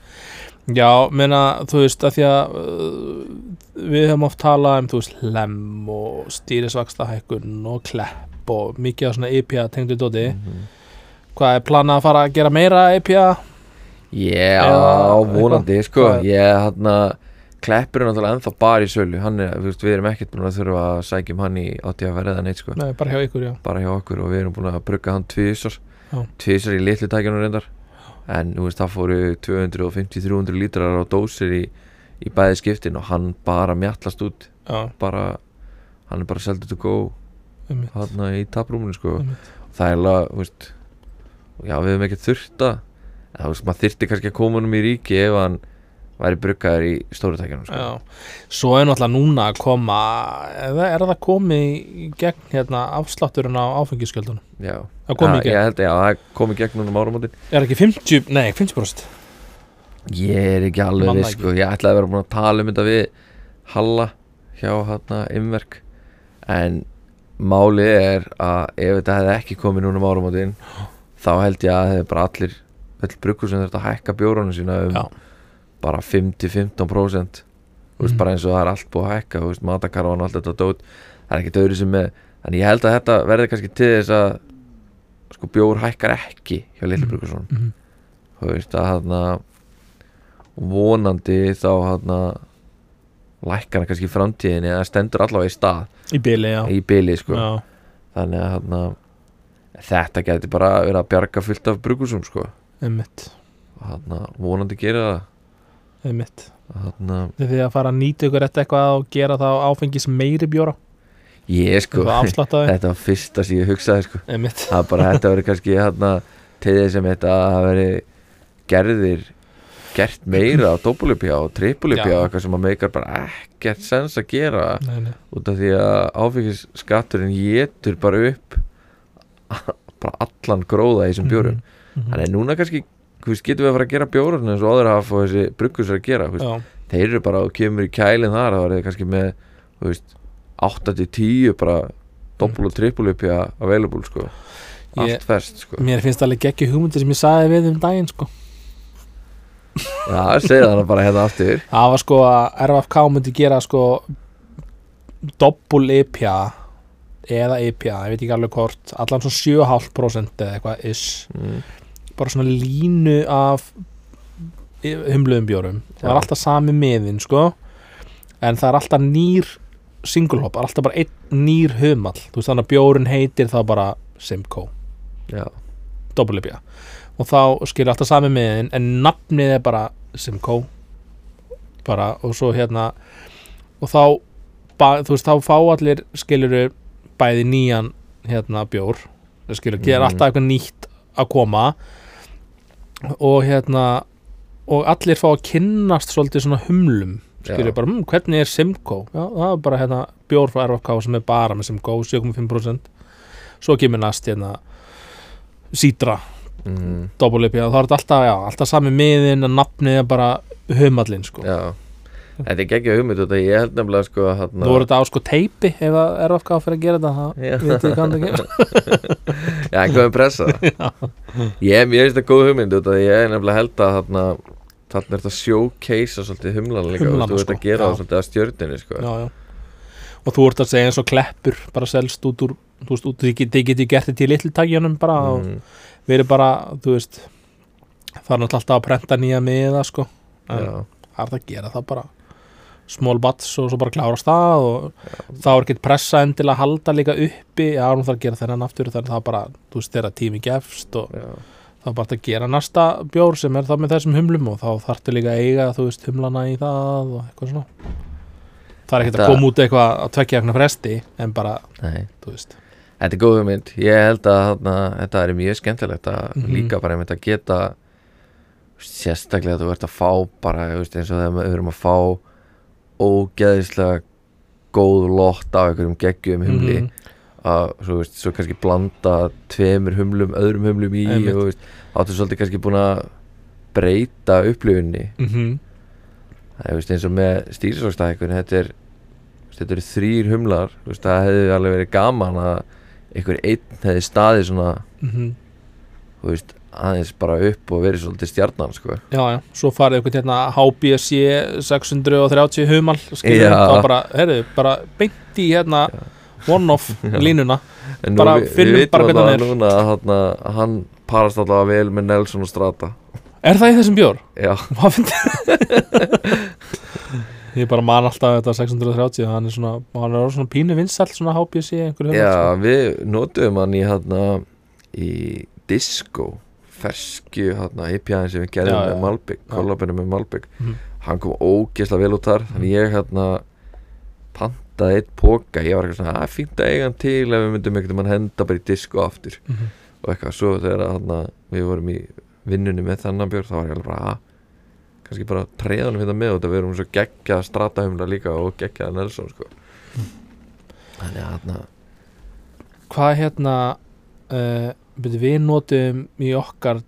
S1: Já, meina þú veist að því að uh, við höfum oft talað um þú veist lem og stýrisvaxtahækkun og klepp og mikið af svona IPA tengdu dóti
S2: Mhm.
S1: Hvað er planað að fara að gera meira E IPA?
S2: Já,
S1: Eða
S2: vonandi sko
S1: Hvað er-
S2: ég hann að Kleppur er náttúrulega ennþá bara í sölu hann er, þú veist, við erum ekkert búin að þurfa að sækjum hann í átíðaferðið eða neitt sko
S1: Nei, bara hjá ykkur, já
S2: bara hjá okkur og við erum búin að brugga hann tvísar
S1: Já.
S2: tvísar í litlu tækjunum reyndar en nú veist það fóru 250-300 lítrar á dósir í, í bæði skiptin og hann bara mjallast út
S1: Já,
S2: bara, hann er bara seldur to go
S1: einmitt,
S2: hann í taprúminu sko
S1: einmitt.
S2: það er alveg, þú veist já, við höfum ekki þurft að eða, þú veist, maður þyrfti kannski að koma honum í ríki ef hann væri bruggaður í stóru tækjunum sko.
S1: Já. Svo er náttúrulega núna að koma eða er það komið í gegn hérna afslátturinn á áfengisgjöldunum
S2: já.
S1: það komið í
S2: ég
S1: gegn,
S2: held, já, það kom í gegn núna um áramótin
S1: er ekki 50 nei, 50%
S2: ég er ekki alveg
S1: Manna
S2: viss sko. ég ætlaði að vera búin að tala um þetta við Halla hjá hérna Imverk en málið er að ef þetta hefði ekki komið núna um áramótin þá held ég að hefði bara allir öll bruggur sem þurft að hækka bjórunum sína um
S1: Já.
S2: bara 5-15% þú veist
S1: Mhm.
S2: bara eins og það er allt búið að hækka þú veist matakarvan og allt þetta dót það er ekki döður sem með en ég held að þetta verði kannski til þess að sko bjór hækkar ekki hjá litlu
S1: Mhm.
S2: bruggursson
S1: Mhm.
S2: þú veist að hann vonandi þá hann lækkar hann kannski í framtíðinni eða stendur allavega í stað
S1: í bili, já,
S2: í byli sko
S1: já.
S2: þannig að hann þetta geti bara verið að bjarga fullt af bruggursum sko
S1: einmitt,
S2: hann vonandi gera
S1: einmitt
S2: það hann
S1: þið þið að fara að nýta ykkur þetta eitthvað og gera þá áfengis meiri bjóra
S2: ég sko
S1: eitthvað afsláttaði,
S2: þetta var fyrsta sem ég hugsaði sko
S1: einmitt
S2: það er bara þetta verið kannski hérna til þess að þetta að veri gerðir gert meira á doppulupjá og trippulupjá
S1: Já.
S2: eitthvað sem að meikar bara ekkert sens að gera
S1: nei, nei.
S2: út af því að áfengisskatturinn getur bara upp bara allan gróða í þessum bjórum
S1: Mhm.
S2: þannig að núna kannski þú veist, getum við að fara að gera bjórun eins og aður hafa og þessi bruggus er að gera þú veist,
S1: Já,
S2: þeir eru bara og kemur í kælinn þar þá er þið kannski með þú veist, 8-10 bara doppul og trippul upp í að available sko. allt
S1: Mhm. Ég-
S2: fest sko.
S1: mér finnst alveg geggi hugmyndir sem ég saði við um daginn sko.
S2: já, segja það bara hérna aftur
S1: það var sko að RFK myndi gera sko doppul IPA eða IPA, ég veit ekki alveg hvort allan svona 7,5% eða eitthvað ish,
S2: mm.
S1: bara svona línu af humluðum bjórum, það
S2: Já.
S1: er alltaf sami miðin sko, en það er alltaf nýr singlehop, alltaf bara einn nýr humall, þú veist þannig að bjórun heitir þá bara Simcoe
S2: já,
S1: doppelipja og þá skilur alltaf sami miðin en nafnið er bara Simco bara og svo hérna og þá ba, þú veist þá fá allir skiluru bæði nýjan hérna bjór Það skilur, gera
S2: Mhm.
S1: alltaf eitthvað nýtt að koma og hérna og allir fá að kynnast svolítið svona humlum skilur
S2: Já.
S1: bara, hm, hvernig er Simco já, það er bara hérna bjór frá RFK sem er bara með Simco, 7,5% svo kemur næst hérna Sidra
S2: mm.
S1: doppelipja og þá er þetta alltaf, já, alltaf sami miðin en nafnið er bara humallinn sko.
S2: já þetta er ekki að hugmynd út af því ég held nefnilega sko
S1: Nú voru
S2: hérna
S1: þetta á sko teipi ef það er ofka fyrir að gera þetta það
S2: Já.
S1: veit ég hvað það gerir
S2: Já, en hvað er pressa? ég, mér finnst það góð hugmynd út af því ég er nefnilega held að þarna þarna er þetta að showcasea svolítið humlan líka
S1: Humlana,
S2: þú veist
S1: sko,
S2: að gera það
S1: já.
S2: svolítið að stjörninni sko.
S1: já, já. og þú ert að segja eins og kleppur bara selst út úr þú veist, út, þið, get- þið getið gert þetta í litlu takjanum bara og
S2: Mm,
S1: verið bara, þú veist það er náttúrulega alltaf að prenta nýja miða sko. en
S2: já,
S1: það er þetta að gera það bara small bats og svo bara klárast það og þá er ekkert pressa endilega að halda líka uppi, já, nú þarf að gera þennan aftur þannig það er bara, þú veist, þegar tími gefst og
S2: já.
S1: þá er bara hægt að gera næsta bjór sem er þá með þessum humlum og þá þarftu líka að eiga, þú veist, humlana í það og eitthvað svona það er ekkert
S2: Þetta-
S1: að koma út eitthvað að tvekja eitthvað fresti en bara,
S2: Nei.
S1: þú veist
S2: Þetta er góð hugmynd, ég held að þarna, þetta er mjög skemmtilegt að
S1: Mhm.
S2: líka bara einmitt að geta sérstaklega þú ert að fá bara þú veist, eins og þegar við erum að fá ógeðislega góð lott af einhverjum geggjum humli
S1: Mhm.
S2: að svo, veist, svo kannski blanda tveimur humlum, öðrum humlum í
S1: Einmitt.
S2: og þú veist, áttu svolítið kannski búin að breyta upplifunni
S1: Mhm.
S2: það er veist, eins og með stýrisvokstækun þetta er veist, þetta eru þrýr humlar þú veist, það hefði alveg verið gaman að einhver einn hefði staðið svona
S1: Mhm.
S2: þú veist, aðeins bara upp og verið svolítið stjarnan sko.
S1: Já, já, svo farið eitthvað hérna HBSC 630 humal skilur,
S2: Já.
S1: þá bara, heyrðu, bara beint í hérna one-off línuna
S2: en
S1: Bara
S2: við,
S1: finnum
S2: við vitum
S1: bara hvernig
S2: allavega
S1: hann er.
S2: núna að þarna, hann parast allavega vel með Nelson og Strata
S1: Er það í þessum bjór?
S2: já,
S1: Hvað finnst Ég bara man alltaf þetta 630 hann er svona, hann er orðinn svona pínu vinsall svona HBSC einhverju hérna, sko.
S2: já
S1: humall,
S2: við notuðum hann í, þarna, í disco fersku hérna, IPA-in sem við
S1: Já,
S2: gerðum
S1: já.
S2: með Malbygg,
S1: Já.
S2: kollabinu með Malbygg
S1: Mhm.
S2: hann kom ógeðslega vel út þar þannig ég hérna pantaði eitt póka, ég var eitthvað svona að fínt að eiga hann til ef við myndum einhvern veginn henda bara í disco aftur
S1: Mhm.
S2: og eitthvað svo þegar hérna, við vorum í vinnunni með þennan björn þá var ég alveg bara að kannski bara treðanum hérna með og þetta við erum svo geggjað stratahumla líka og geggjað Nelson sko
S1: Mhm.
S2: þannig að hérna
S1: hvað hérna uh, byrju, við notum í okkar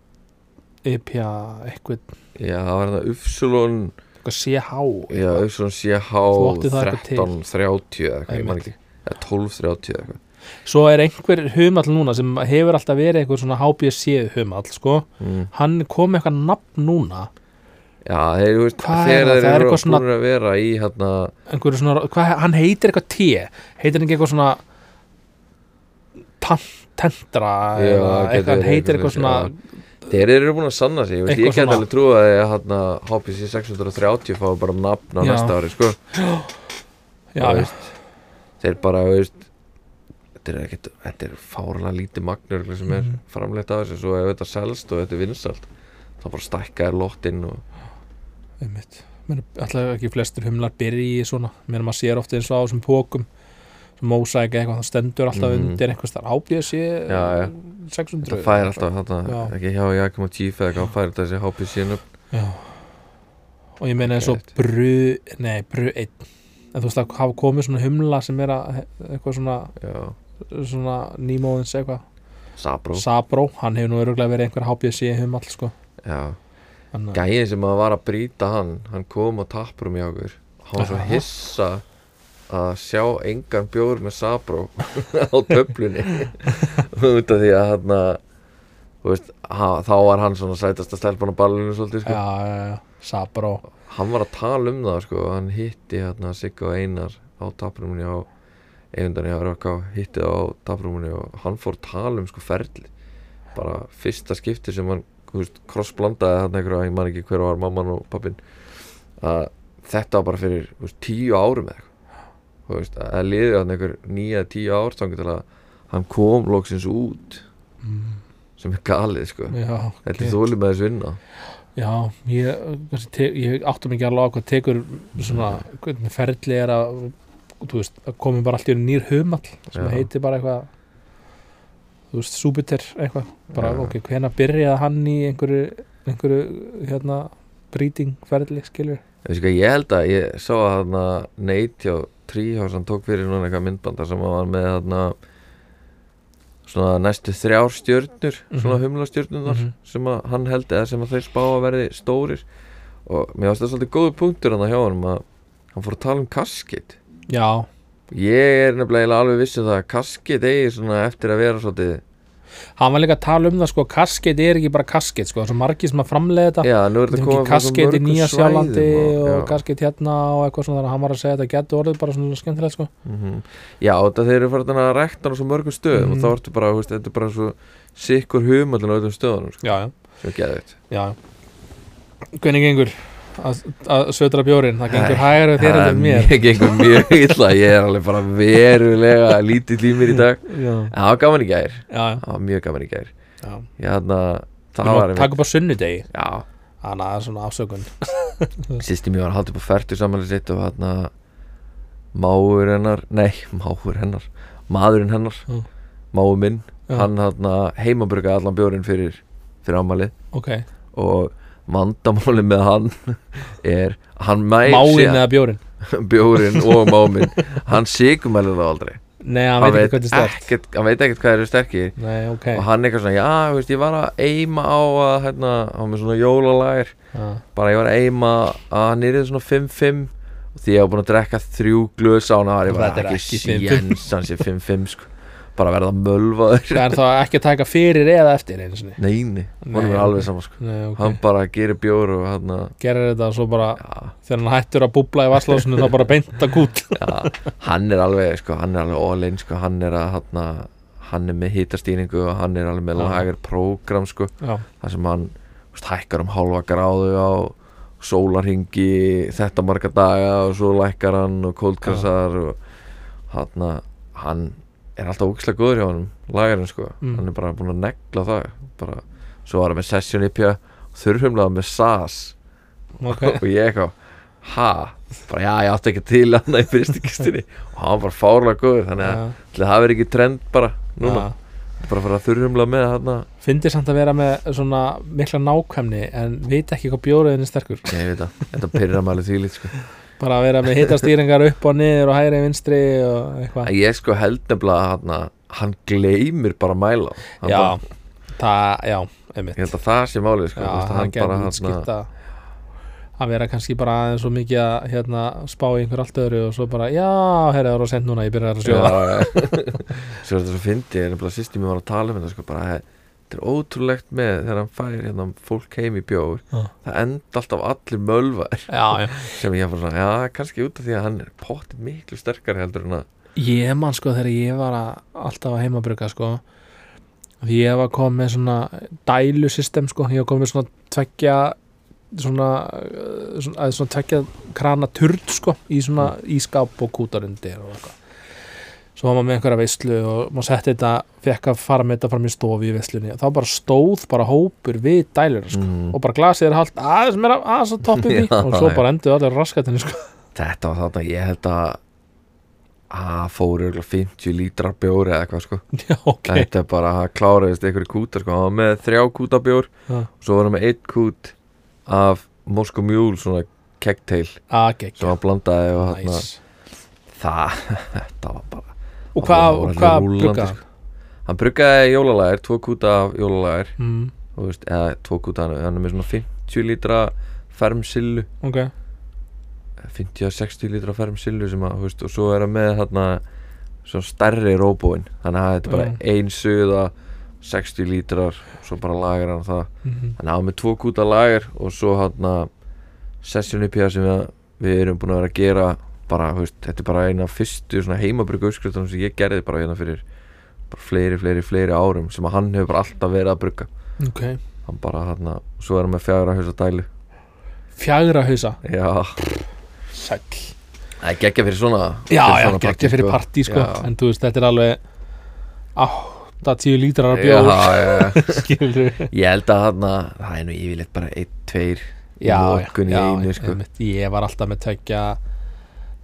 S1: E IPA eitthvað,
S2: já það var hérna Upsilon
S1: eitthvað CH
S2: já Upsilon CH
S1: Þú átti það eitthvað til.
S2: 1330 eða eitthvað ég
S1: Einmitt.
S2: man ekki eða 1230 eða eitthvað
S1: svo er einhver humall núna sem hefur alltaf verið einhver svona HBC humall sko.
S2: mm.
S1: hann kom með eitthvað nafn núna
S2: já þeir, þú veist,
S1: Hvað er það?
S2: þegar þeir
S1: Það er
S2: eru
S1: eitthvað svona-
S2: búin að vera í hérna
S1: einhverju svona, hvað, hann heitir eitthvað T heitir hann ekki eitthvað svona tan- tentra
S2: Já,
S1: eða
S2: það
S1: eitthvað,
S2: getur
S1: hann
S2: verið
S1: heitir
S2: eitthvað
S1: eitthvað svona
S2: svoleiðis, Þeir eru búin að sanna sig, ég, veist,
S1: Eitthvað
S2: ég get
S1: svona.
S2: alveg trúa að hérna, HPC 630 fái bara nafn á
S1: Já.
S2: næsta ári sko.
S1: já,
S2: Þú
S1: já,
S2: veist, Þeir bara, þú veist Þetta er, ekkit, þetta er fárlega lítið magnur sem er
S1: Mhm.
S2: framleitt af þessu svo ef þetta selst og þetta er vinsalt þá bara stækka er lottinn og
S1: einmitt Mér er alltaf ekki flestir humlar byrji í svona mér er maður sér ofta eins og á þessum pókum sem mósæk eitthvað, það stendur alltaf
S2: Mhm.
S1: undir einhvers þar ábjöðsi
S2: Já, já.
S1: 600
S2: þetta fær alltaf þarna,
S1: Já.
S2: ekki hjá Jakob og Chief eða hvað fær þessi HPC nöfn
S1: Já. og ég meina eins og
S2: Geðveikt.
S1: bru, nei, bru einn en þú veist að hafa komið svona humla sem er að eitthvað svona,
S2: Já,
S1: svona nýmóðins eitthvað
S2: Sabró
S1: Sabró, hann hefur nú öruglega verið einhver HBC humall sko
S2: Já.
S1: Hann,
S2: Gæin sem að var að brýta hann hann kom á tapprum í okkur hann var svo
S1: Aha.
S2: hissa að sjá engan bjór með Sabró á töflunni út af því að hann veist, ha, þá var hann svona sætasta stelpan á ballinu svolítið sko.
S1: já, já, já, Sabró
S2: hann var að tala um það sko. hann hitti hann Sigga og Einar á taprumni á eigundan í Rökká hitti það á taprumni og hann fór að tala um sko ferli bara fyrsta skipti sem hann þú veist, krossblandaði hann einhverja, ég man ekki hver var mamman og pappin að þetta var bara fyrir þú veist, tíu árum eða eitthvað Þú veist, að liði hann einhver nýja tíu ár þannig til að hann kom loksins út
S1: mm,
S2: sem er galið sko
S1: já,
S2: þetta
S1: ok.
S2: er þólið með þess vinna
S1: já, ég, kannski te- ég áttum ekki alveg á hvað tekur svona, hvernig ferli er að þú veist, það komið bara allt í einu nýr humall sem
S2: Já.
S1: heitir bara eitthvað þú veist, Súbiter eitthvað bara,
S2: Já.
S1: ok, hvenær byrjaði hann í einhverju, einhverju hérna, brýting ferli, skilur
S2: Ég veist hvað, ég held að ég sá að þarna Nate hjá Tríhás, hann tók fyrir núna eitthvað myndbanda sem hann var með þarna svona næstu þrjár stjörnur, svona
S1: Mhm.
S2: humlastjörnunar
S1: Mhm.
S2: sem að hann held eða sem að þeir spá að verði stórir og mér varst það svolítið góðu punktur hann hjá honum að hann fór að tala um kaskit
S1: já,
S2: ég er nefnilega eiginlega alveg viss um það að kaskit eigi svona eftir að vera svolítið
S1: hann var líka að tala um það sko kasket er ekki bara kasket sko, það er svo margir sem að framlega þetta
S2: já, nú er
S1: þetta
S2: þetta
S1: er ekki
S2: komið
S1: kasket í Nýja Sjálandi og,
S2: já.
S1: kasket hérna og eitthvað svona þannig að hann var að segja þetta getur orðið bara svona skemmtilegt sko
S2: Mm Já, þetta þeir eru farin að rekta hann á svo mörgum stöðum og
S1: Mhm.
S2: þá ertu bara, þú veist, þetta er bara svo sikkur humallin á öllum stöðunum, sko,
S1: já, já,
S2: sem er geðvitt.
S1: já hvernig gengur að, að södra bjórin, það gengur
S2: Æ,
S1: hægar við þér heldur en mér
S2: Mér gengur mjög illa, ég er alveg bara verulega lítið límir í dag.
S1: já,
S2: En það var gaman í gær,
S1: já,
S2: það var mjög gaman í gær.
S1: já
S2: Ég hann að, það
S1: Við
S2: var
S1: erum að taka upp á sunnudegi,
S2: já,
S1: þannig að það er svona afsökun
S2: sýsti mér var að halda upp á færtu samanlega sitt og hann að máur hennar, nei, máur hennar, maðurinn hennar,
S1: Mm.
S2: máur minn,
S1: Já.
S2: hann hann að heimabrukaði allan bjórin fyrir, fyrir ámalið.
S1: ok,
S2: og vandamáli með hann er að hann mæg
S1: máin eða bjórin
S2: bjórin og mámin hann sigumælir það aldrei
S1: nei, hann veit ekki hvað þetta er
S2: ekkert, hann veit ekkert hvað eru sterkir
S1: stert nei, ok,
S2: og hann eitthvað svona, já, þú veist, ég var að eima á að, hérna, hann með svona jólalagir
S1: já,
S2: bara ég var að eima að hann er svona 5-5 og því ég var búin að drekka þrjú glöðs á hann og ég
S1: Þetta
S2: var
S1: er
S2: ekki
S1: ekki 5-5.
S2: séns hann sé 5-5 sko, bara verða mölvaður
S1: það er þá ekki að taka fyrir eða eftir einu sinni
S2: neini,
S1: Nei,
S2: hann er
S1: ok.
S2: alveg saman sko
S1: nei, ok,
S2: hann bara gerir bjór og hann
S1: gerir þetta svo bara
S2: já,
S1: þegar hann hættur að búbla í vasslásinu þá bara beint að kút
S2: Já, hann er alveg, sko, hann er alveg all in, sko, hann er að, hann, hann er með hitastýringu og hann er alveg með
S1: Já.
S2: lagar prógram, sko,
S1: já,
S2: þar sem hann, þú veist, hækkar um hálfa gráðu á sólarhingi þetta marga daga og svo lækkar hann og kóldkassar og hann, hann er alltaf ógislega góður hjá hann, lagarinn, sko,
S1: Mm.
S2: hann er bara búin að negla það, bara, svo var hann með session IPA, þurrfumlega með SAS
S1: ok
S2: og ég eitthvað ha, bara já, ég átti ekki til hann í fyrstu kistinni og hann var bara fárlega góður þannig að
S1: Já,
S2: ætli það verður ekki trend bara núna,
S1: já.
S2: bara að fara að þurrumla með þarna
S1: Fyndi samt að vera með svona mikla nákvæmni en vita ekki hvað bjóriðin er sterkur
S2: Nei, ég veit það, þetta pyrra maður því lít sko.
S1: bara að vera með hitastýringar upp og niður og hægri vinstri og eitthvað
S2: En Ég sko held nefnilega að hana, hann gleymir bara að mæla á. hann
S1: Já,
S2: bara,
S1: það, já, einmitt
S2: Ég held að það sé málið sko.
S1: Já,
S2: Þú veist,
S1: hann
S2: hann bara,
S1: gerði
S2: hana,
S1: skipta að vera kannski bara aðeins svo mikið að hérna, spá í einhver allt öðru og svo bara, já, herri, það var að senda núna ég byrjar að sjóða
S2: Já, Svo er þetta svo fyndi Ég er nefnilega sýst í mér var að tala um þetta sko, bara, he, Þetta er ótrúlegt með þegar hann fær hérna, fólk heim í bjóður
S1: Já.
S2: Það enda alltaf allir mölvar
S1: já, já.
S2: sem ég var svona, já, kannski út af því að hann er pottit miklu sterkari heldur en að
S1: Ég man sko þegar ég var að, alltaf að heimabruka sko því ég var komið með svona dælu system sko, ég var komið með svona tveggja svona, eh, svona, að svona tveggja krana turd sko í svona
S2: Mm.
S1: ískáp og kútarundir og eitthvað svo var maður með einhverja veislu og maður setti þetta, fekk að fara með þetta fram í stofi í veislunni og þá bara stóð bara hópur við dælur sko
S2: mm.
S1: og bara glasið er hálft aðeins meira aðeins að toppi því
S2: Já,
S1: og svo
S2: já.
S1: bara endur allir raskatinn sko
S2: Þetta var þarna, ég held að að fóru örugglega 50 lítrar bjóri eða eitthvað sko
S1: já, ok,
S2: Þetta er bara að kláraðist einhverju kúta sko Hann var með þrjá kúta bjór
S1: Já.
S2: Svo var hann með eitt kút af Moscow Mule svona kegtail
S1: aðgegg
S2: sem hann blandaði og hann
S1: nice.
S2: það, þetta var bara
S1: Og hvað,
S2: Það var
S1: og
S2: alveg
S1: hvað
S2: rúllandi,
S1: brugga?
S2: sko. Hann bruggaði jólalægir, tvo kúta af jólalægir
S1: Mm,
S2: þú veist, eða tvo kúta hann, hann er með svona 50 lítra fermsillu
S1: ok,
S2: 50-60 lítra fermsillu sem að, þú veist, og svo er hann með þarna svona stærri róbóin þannig að þetta er bara
S1: Mm.
S2: ein suða 60 lítrar, svo bara lagar hann það
S1: mhm,
S2: Þannig að hann með tvo kúta lager og svo hann session IPA sem við, við erum búin að vera að gera bara, þú veist, þetta er bara eina af fyrstu svona heimabryggu uppskriftunum sem ég gerði bara hérna fyrir bara fleiri, fleiri, fleiri árum sem að hann hefur bara alltaf verið að brugga
S1: ok
S2: hann bara hann að, svo er hann með fjagra hausa dælu
S1: Fjagra hausa,
S2: já,
S1: sæll
S2: það er geggja fyrir svona
S1: Já,
S2: fyrir
S1: já,
S2: svona
S1: geggja fyrir partí sko
S2: Já.
S1: En þú veist, þetta er alveg 8-10 lítrar af
S2: já,
S1: bjóð
S2: já, já.
S1: Skilur við
S2: ég held að hann að það er nú yfirleitt bara einn, tveir
S1: Já,
S2: Lokun í
S1: já,
S2: einu, sko.
S1: einmitt. Ég var alltaf með tekja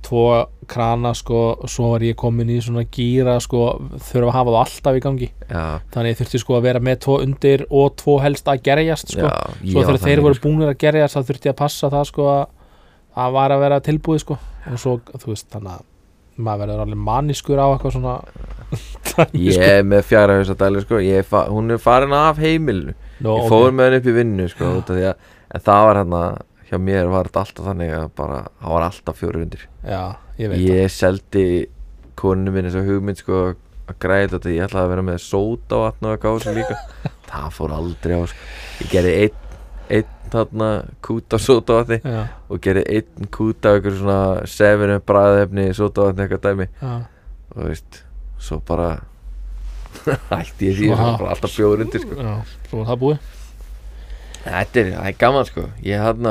S1: Tvo krana sko og Svo var ég komin í svona gíra sko Þurfa að hafa það alltaf í gangi
S2: já,
S1: Þannig ég þurfti sko að vera með tvo undir Og tvo helst að gerjast sko
S2: já, ég
S1: svo
S2: var
S1: þegar þeir
S2: þannig,
S1: voru
S2: sko.
S1: búinir að gerja þess að þurfti ég að passa það sko að það var að vera tilbúið sko og svo þú veist þannig að maður verður alveg manniskur á eitthvað svona dæmi,
S2: ég er með fjagra hausa dælu sko. Ég er fa- hún er farin af heimilinu
S1: Nó,
S2: ég
S1: ok.
S2: fór með hann upp í vinnu sko, út af því að, en það var hérna hjá mér var þetta alltaf þannig að bara það var alltaf fjóru undir
S1: já, ég veit
S2: ég seldi konu minni þessu hugmynd sko, að græða þetta, ég ætlaði að vera með sóta og vatn og að gása líka það fór aldrei á sko. ég gerði einn einn þarna kúta sóta vatni
S1: það já,
S2: og gerði einn kúta ykkur svona sefinu bræðefni sóta vatni eitthvað dæmi
S1: já,
S2: og þú veist, svo bara hætti ég því
S1: Svo
S2: það var
S1: ha-
S2: bara alltaf fjóru undir sko.
S1: já, svo var það búið
S2: Þetta er, það er gaman sko Ég hann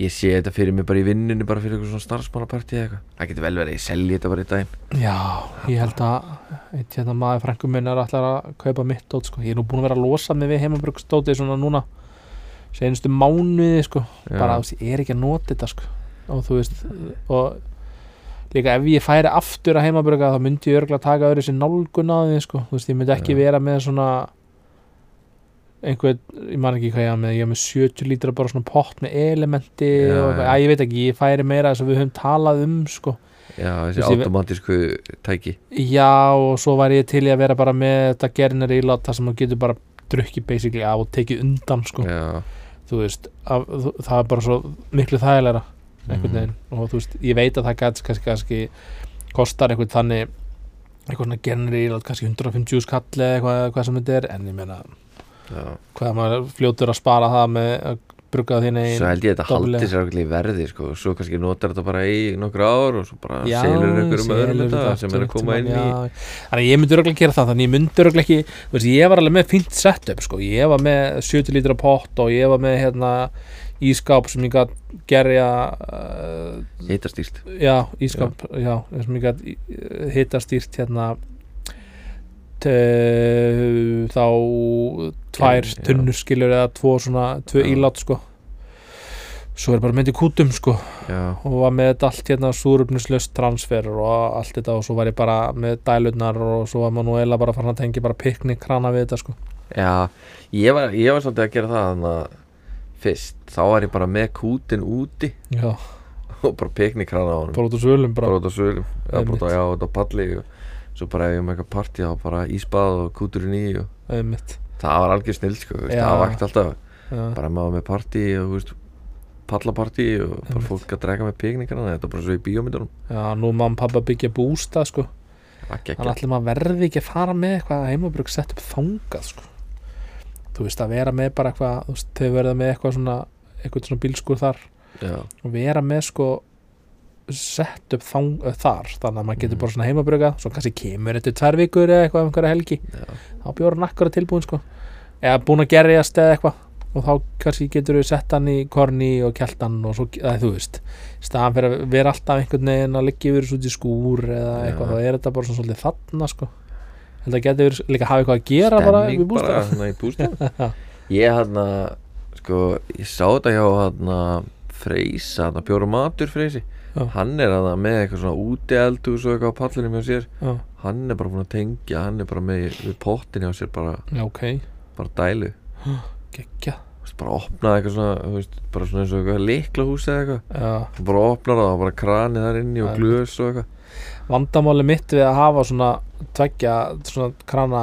S2: Ég sé þetta fyrir mig bara í vinnunni bara fyrir eitthvað svona starfsmannapartí eða eitthvað Það getur vel verið að ég selji þetta bara í daginn
S1: já, ég held að eitt hérna maður frængum minn er alltaf að kaupa mitt dót sko, ég er nú búin að vera að losa mig við heimabruksdóti svona núna seinustu mánuði sko bara þú veist, ég er ekki að nota þetta sko. og þú veist og líka ef ég færi aftur að heimabröka þá myndi ég örgulega taka öðru sér nálgun á því sko. þú veist, ég myndi ekki
S2: Já.
S1: vera með svona einhver, ég man ekki hvað ég hafa með ég hafa með 70 lítra bara svona pott með elementi
S2: Já,
S1: og eitthvað,
S2: já.
S1: að ég veit ekki, ég færi meira þess að við höfum talað um sko.
S2: Já, þessi
S1: Þessi-
S2: automatísku tæki
S1: já og svo væri ég til í að vera bara með þetta gerinari í láta sem maður getur bara drukkið basically af og tekið undan sko.
S2: Já,
S1: þú veist, af, þú- það er bara svo miklu þægilegra einhvern
S2: Mhm.
S1: veginn og þú veist, ég veit að það gæti kannski, kannski kostar einhvern þannig eitthvað svona genri, kannski 150 skall eða eitthvað, hvað sem þetta er, en ég meina
S2: já
S1: hvað maður er fljótur að spara það með að brugga þín
S2: Svo
S1: einn
S2: held ég að þetta
S1: doublega.
S2: haldi sér okkur í verði sko og Svo kannski notar þetta bara í nokkur ár og svo bara
S1: Já,
S2: selur einhverjum öðrum
S1: selur
S2: þetta
S1: þetta
S2: sem er að
S1: aftur
S2: koma
S1: einhvern
S2: inn í
S1: tímann, já. Þannig að ég myndi röglega gera það, þannig að ég myndi röglega ekki þú veist, ég var alveg með fínt setup sko. ég var með 70 lítra pott og ég var með hérna, ískáp sem ég gætt gerja uh,
S2: hitastýrt
S1: já, ískap já, eins og mikið að hita stýrt eh, hérna tö, þá tvær
S2: Já.
S1: tunnur skilur eða tvo svona, tvö
S2: Já.
S1: ílát sko svo er bara myndi kútum sko
S2: já,
S1: og var með þetta allt hérna súröfnislaust transfer og allt þetta og svo var ég bara með dælutnar og svo var Manuela bara farin að tengja bara piknik krana við þetta sko
S2: já ég var, ég var svolítið að gera það þannig að fyrst þá var ég bara með kútin úti
S1: já,
S2: og bara piknikrana á honum
S1: bara út úr svölum bara,
S2: bara út á svölum eða bara út á,
S1: Einmitt.
S2: já, út á palli og svo bara ef ég var með eitthvað partí þá bara ísbað og kúturinn í og
S1: einmitt
S2: það var algjör snill sko, þú veist,
S1: Já.
S2: það vakti alltaf
S1: já,
S2: bara maður með partí og þú veist, pallapartí og bara
S1: Einmitt.
S2: fólk að drega með piknikrana þetta er bara svo í bíómyndunum
S1: já, nú er mamma og pappa byggja bústa sko
S2: ekki
S1: hann
S2: ekki
S1: allir maður verði ekki að fara með eitthvað heimabrug sett upp þangað sko þú veist að vera með bara eitthvað þú veist, þau verða með eitthvað svona eitthvað svona bílskur þar
S2: já,
S1: og vera með sko sett upp þang, eh, þar þannig að maður getur
S2: Mhm.
S1: bara svona heimabruga svo kannski kemur þetta tvær vikur eða eitthvað um einhverja helgi
S2: Já.
S1: þá bjóður hann akkur tilbúin sko eða búin að gerjast eða eitthvað og þá kannski getur við sett hann í korni og kjalt hann og svo, eða þú veist í staðan fyrir að vera alltaf einhvern veginn að liggja yfir þessu út í skúr eða
S2: Já.
S1: eitthvað þá er þetta bara svona svolítið þarna sko Ég held að getur verið líka að hafa eitthvað að gera bara
S2: Stemning
S1: við bústað
S2: bara, nei, bústað ég hann að sko, ég sá þetta hjá hann að Freysa, hann að Bjóru Matur Freysi
S1: Já.
S2: hann er hann með eitthvað svona úti eldhús og eitthvað á pallinum hjá sér
S1: já,
S2: hann er bara búin að tengja, hann er bara með við pottin hjá sér, bara,
S1: já, ok,
S2: bara dælu
S1: gekkja
S2: Þú veist, bara opnaði eitthvað svona, þú veist, bara svona eins og eitthvað leikla húsi eða eitthvað
S1: já
S2: Hann bara opnar það og bara kranið þar inni og
S1: Það er
S2: glös og eitthvað
S1: vandamáli mitt við að hafa svona tveggja svona krana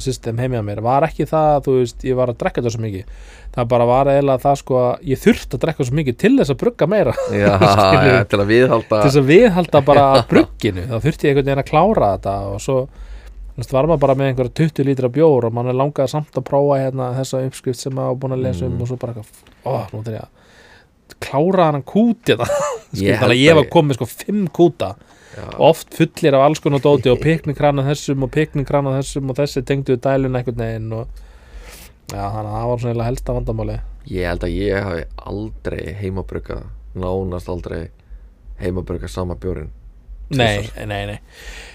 S1: system heim hjá mér var ekki það að þú veist ég var að drekka þetta svo mikið það bara var eiginlega það sko að ég þurfti að drekka svo mikið til þess að brugga meira til
S2: já,
S1: Skilur.
S2: já, til að viðhalda
S1: þess að viðhalda bara brugginu þá þurfti ég einhvern veginn að klára þetta og svo þú veist, var maður bara með einhverja 20 lítra bjór og mann er langaði samt að prófa hérna þessa uppskrift sem maður var búin að lesa um
S2: Mm.
S1: og svo bara eitthvað, ó, nú þarf ég að klára hann kút hérna." þetta
S2: Ég
S1: Skilur,
S2: held
S1: þannig að ég
S2: að
S1: var
S2: ég-
S1: komið sko 5 kúta
S2: já,
S1: oft fullir af alls konar dóti og piknikrana þessum og piknikrana þessum og þessi tengdu við dælun einhvern veginn og já, þannig að það var svona eiginlega helsta vandamáli
S2: ég held að ég hafi aldrei heimabrugga nánast aldrei heimabrugga sama bjórin
S1: nei, nei, nei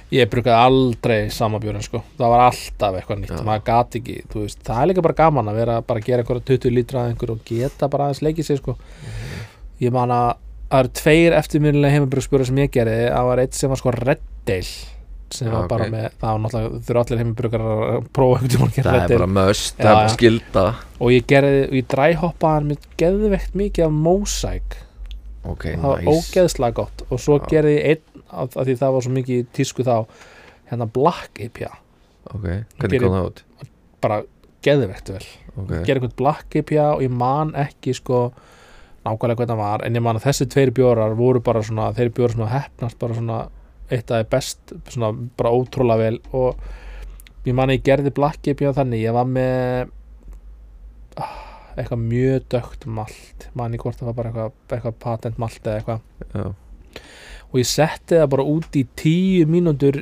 S1: ég brukaði aldrei sama björn sko það var alltaf eitthvað nýtt,
S2: Já.
S1: maður gati ekki þú veist, það er líka bara gaman að vera bara að gera einhverja 20 lítra að einhverju og geta bara aðeins leikið sig sko
S2: Mhm.
S1: ég man að það eru tveir eftirminnilega heimabrugspjóra sem ég gerði það var eitt sem var sko reddel sem
S2: Já,
S1: var bara
S2: ok.
S1: með, það var náttúrulega þurfa allir heimabrugar að prófa einhvern tímann að gera
S2: það er
S1: Red Ale.
S2: bara möst,
S1: Já,
S2: það er bara
S1: já.
S2: skilda
S1: og ég gerði, og ég dræhoppaði hann mér geðveikt mikið af mósæk
S2: ok,
S1: það var
S2: nice.
S1: ógeðslega gott og svo
S2: Já.
S1: gerði ég einn, af af því það var svo mikið í tísku þá, hérna Black IPA
S2: ok, hvernig kom það út
S1: bara geðveikt vel
S2: ok,
S1: gerði einhvern Black IPA og ég man ekki sko nákvæmlega hvernig það var en ég man að þessi tveir bjórar voru bara svona þeir bjórar sem að hefnast bara svona eitt af þeir best, svona bara ótrúlega vel og ég man að ég gerði Black IPA þannig, ég var með ah, eitthvað mjög dögt malt, man ég hvort það var bara eitthvað, eitthvað patent malt eða eitthvað
S2: já,
S1: og ég setti það bara út í tíu mínútur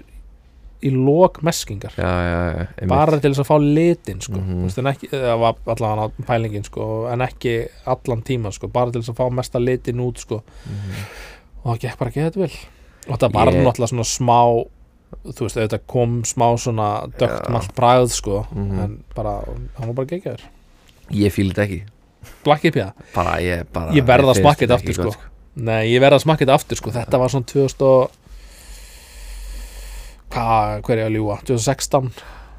S1: í lok meskingar
S2: já, já, já einmitt.
S1: bara til þess að fá litin sko.
S2: Mhm.
S1: mm -hmm. ekki, það var allan pælingin sko, en ekki allan tíma sko, bara til þess að fá mesta litin út sko.
S2: Mhm.
S1: og það gekk bara ekki þetta vel og það var
S2: Ég-
S1: náttúrulega svona smá þú veist, auðvitað kom smá svona dögt
S2: Já.
S1: malt bræð sko,
S2: Mhm.
S1: en bara, hann var bara geggjaður
S2: ég fíl þetta ekki
S1: Black IPA,
S2: bara, ég, bara,
S1: Ég verð að
S2: finnst
S1: smakka þetta
S2: ekki
S1: aftur,
S2: gott,
S1: sko. nei, ég verða að smakka þetta aftur sko, þetta var svona 2000 og hvað, hver er ég að ljúga 2016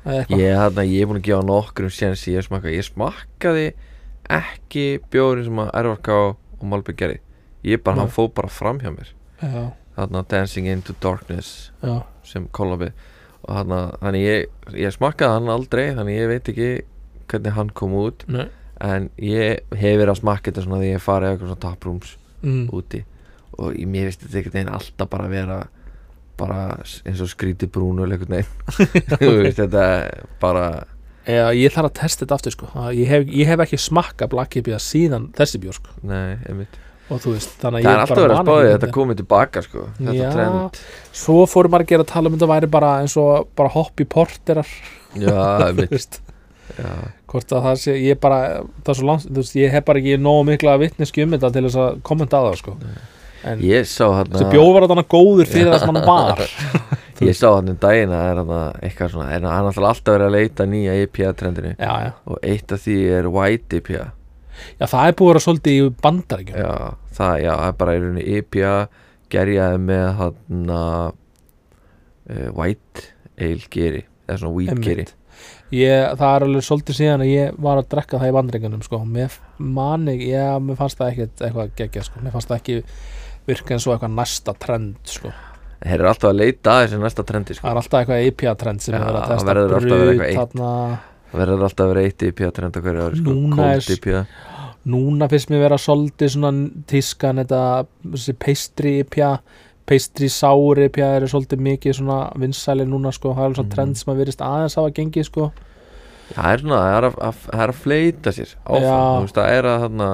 S1: eða eitthvað
S2: Ég, þarna, ég er búin að gefa nokkrum séns í að smakka Ég smakkaði ekki bjórin sem að RFK og Malbygg gerði Ég bara,
S1: Nei.
S2: hann fóð bara fram hjá mér
S1: já,
S2: Þarna Dancing into Darkness
S1: já,
S2: sem kollabið og þarna, þannig ég, ég smakkaði hann aldrei þannig ég veit ekki hvernig hann kom út
S1: nei
S2: en ég hef verið að smakka þetta svona því ég hef farið á eitthvað svona taprooms
S1: mm.
S2: úti og ég, mér veist þetta einhvern veginn alltaf bara vera bara s- eins og skrítið brúnul einhvern veginn Þú veist, þetta er bara
S1: Já, ég þarf að testa þetta aftur sko Það- ég hef, ég hef ekki smakka Black IPA síðan þessi bjór sko
S2: nei, einmitt
S1: og þú veist, þannig
S2: Það er
S1: ég
S2: alltaf verið að
S1: man ekki
S2: spáði
S1: við
S2: þetta komið tilbaka sko Þetta
S1: Já.
S2: trend
S1: Svo fóru margir að tala um þetta væri bara eins og bara hopp í porterar
S2: Já,
S1: þú
S2: einmitt
S1: veist,
S2: Já,
S1: hvort að það sé ég bara, það er svo langt, þú veist, ég hef bara ekki nógu mikla vitneski um þetta til þess að kommenta að það sko en
S2: Ég sá
S1: þessi
S2: hérna
S1: bjór var þarna góður fyrir það sem hann var
S2: Ég sá hérna um daginn að það er hérna eitthvað svona E En hann er alltaf verið að leita að nýja IPA trendinu
S1: Já, já,
S2: Og eitt af því er White E IPA
S1: Já, það er búið að vera svolítið í bandarækjum
S2: já, það, já, það er bara í rauninni IPA gerjaði með hann uh, white ale geri eða svona wheat
S1: Einmitt.
S2: geri
S1: ég, Það er alveg svolítið síðan að ég var að drekka það í bandarækjunum sko. Mér mani, já, mér fannst það ekkert eitthvað geggja sko. Mér fannst það ekki virka eins og eitthvað næsta trend sko.
S2: þeir eru alltaf að leita að þessi næsta trendi
S1: Það
S2: sko.
S1: er alltaf eitthvað IPA trend sem
S2: Já,
S1: er verið að
S2: það
S1: testa
S2: verður alltaf að vera eitthvað eitt.
S1: þarna,
S2: það verður alltaf að vera eitt IPA trend á hverju ári sko.
S1: Núna er-
S2: cold IPA
S1: Núna finnst mér vera svolítið svona tískan þetta þessi peistri IPA peistri sári IPA eru svolítið mikið svona vinsæli núna sko, það er alveg svona
S2: Mhm.
S1: trend sem að virðist aðeins hafa gengið sko
S2: það er svona, það er að, að, það er að fleita sér áfram,
S1: Já.
S2: þú veist, það er að þarna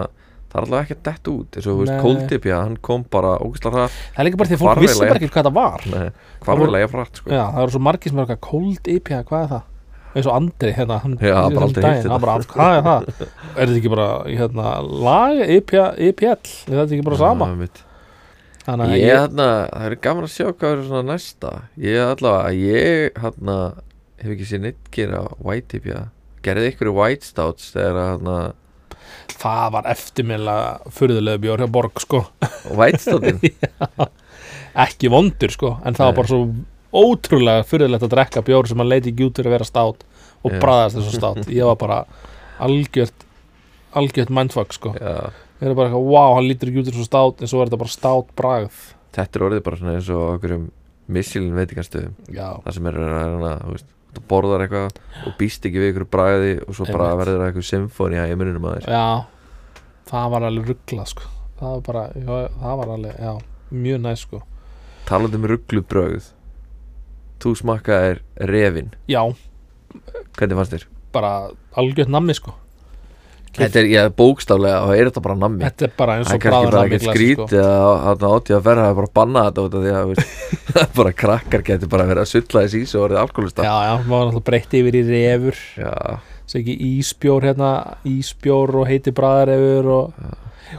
S2: það er alltaf ekki að detta út eins og þú veist,
S1: Nei.
S2: cold IPA, hann kom bara ógislega hratt,
S1: Það er líka bara því að fólk
S2: Hvarvetna
S1: vissi bara
S2: jafn.
S1: ekkert hvað það var Það voru-
S2: hvarfilega jafn hratt sko.
S1: Já, það eru svo margir sem eru eitthvað cold IPA, hvað er það? Eins og Andri, hérna, hann
S2: Já, bara
S1: þessum
S2: aldrei
S1: daginn,
S2: heyrt
S1: hann bara, Hvað er það? Er þetta ekki bara, hérna, lag, IPA, IPL, er þetta ekki bara sama?
S2: Já, einmitt.
S1: Þannig að
S2: ég
S1: ég,
S2: þarna, það er gaman að sjá hvað er svona næsta ég allavega, ég þarna hef ekki séð neitt gera white IPA gerði ykkur í white stouts þegar hérna, að þarna,
S1: það var eftirmiðlega furðulega bjór hjá Borg, sko.
S2: white stoutin
S1: Ekki vondur, sko, en það var
S2: Nei.
S1: bara svo ótrúlega furðulegt að drekka bjór sem að leiti ekki út fyrir að vera stát og
S2: Já.
S1: bræðast þessu stát. Ég var bara algjört, algjört mindfuck, sko.
S2: já,
S1: Ég er bara eitthvað, wow, hann lítur ekki út þessu stát, en svo er þetta bara stát bragð.
S2: þetta er orðið bara svona eins og okkur um missilin veitingastöðum
S1: Já,
S2: það sem er að hana, þú veist þú borðar eitthvað og býst ekki við ykkur bræði og svo bara
S1: Einmitt.
S2: verður það eitthvað symfóni í mununum að þér
S1: Já, það var alveg ruggla sko. það var bara, já, það var alveg já, mjög næ sko.
S2: talandi um rugglubröð þú smakkaðir refin
S1: Já,
S2: hvernig fannst þér?
S1: bara algjört nammi sko. Keypt.
S2: Þetta er, ég bókstaflega, þá er þetta bara nammi
S1: Þetta er bara eins og
S2: Það er kannski
S1: bræður
S2: bara
S1: nammi
S2: ekkert
S1: glasi,
S2: skrítið
S1: sko.
S2: að þarna átti að ferra að bara banna þetta út af því að veist, bara krakkar getur bara verið að sulla þess ís og orðið alkoholista
S1: Já, já, maður náttúrulega breytti yfir í refur
S2: Já,
S1: sem ekki ísbjór hérna ísbjór og heiti bræðarefur og...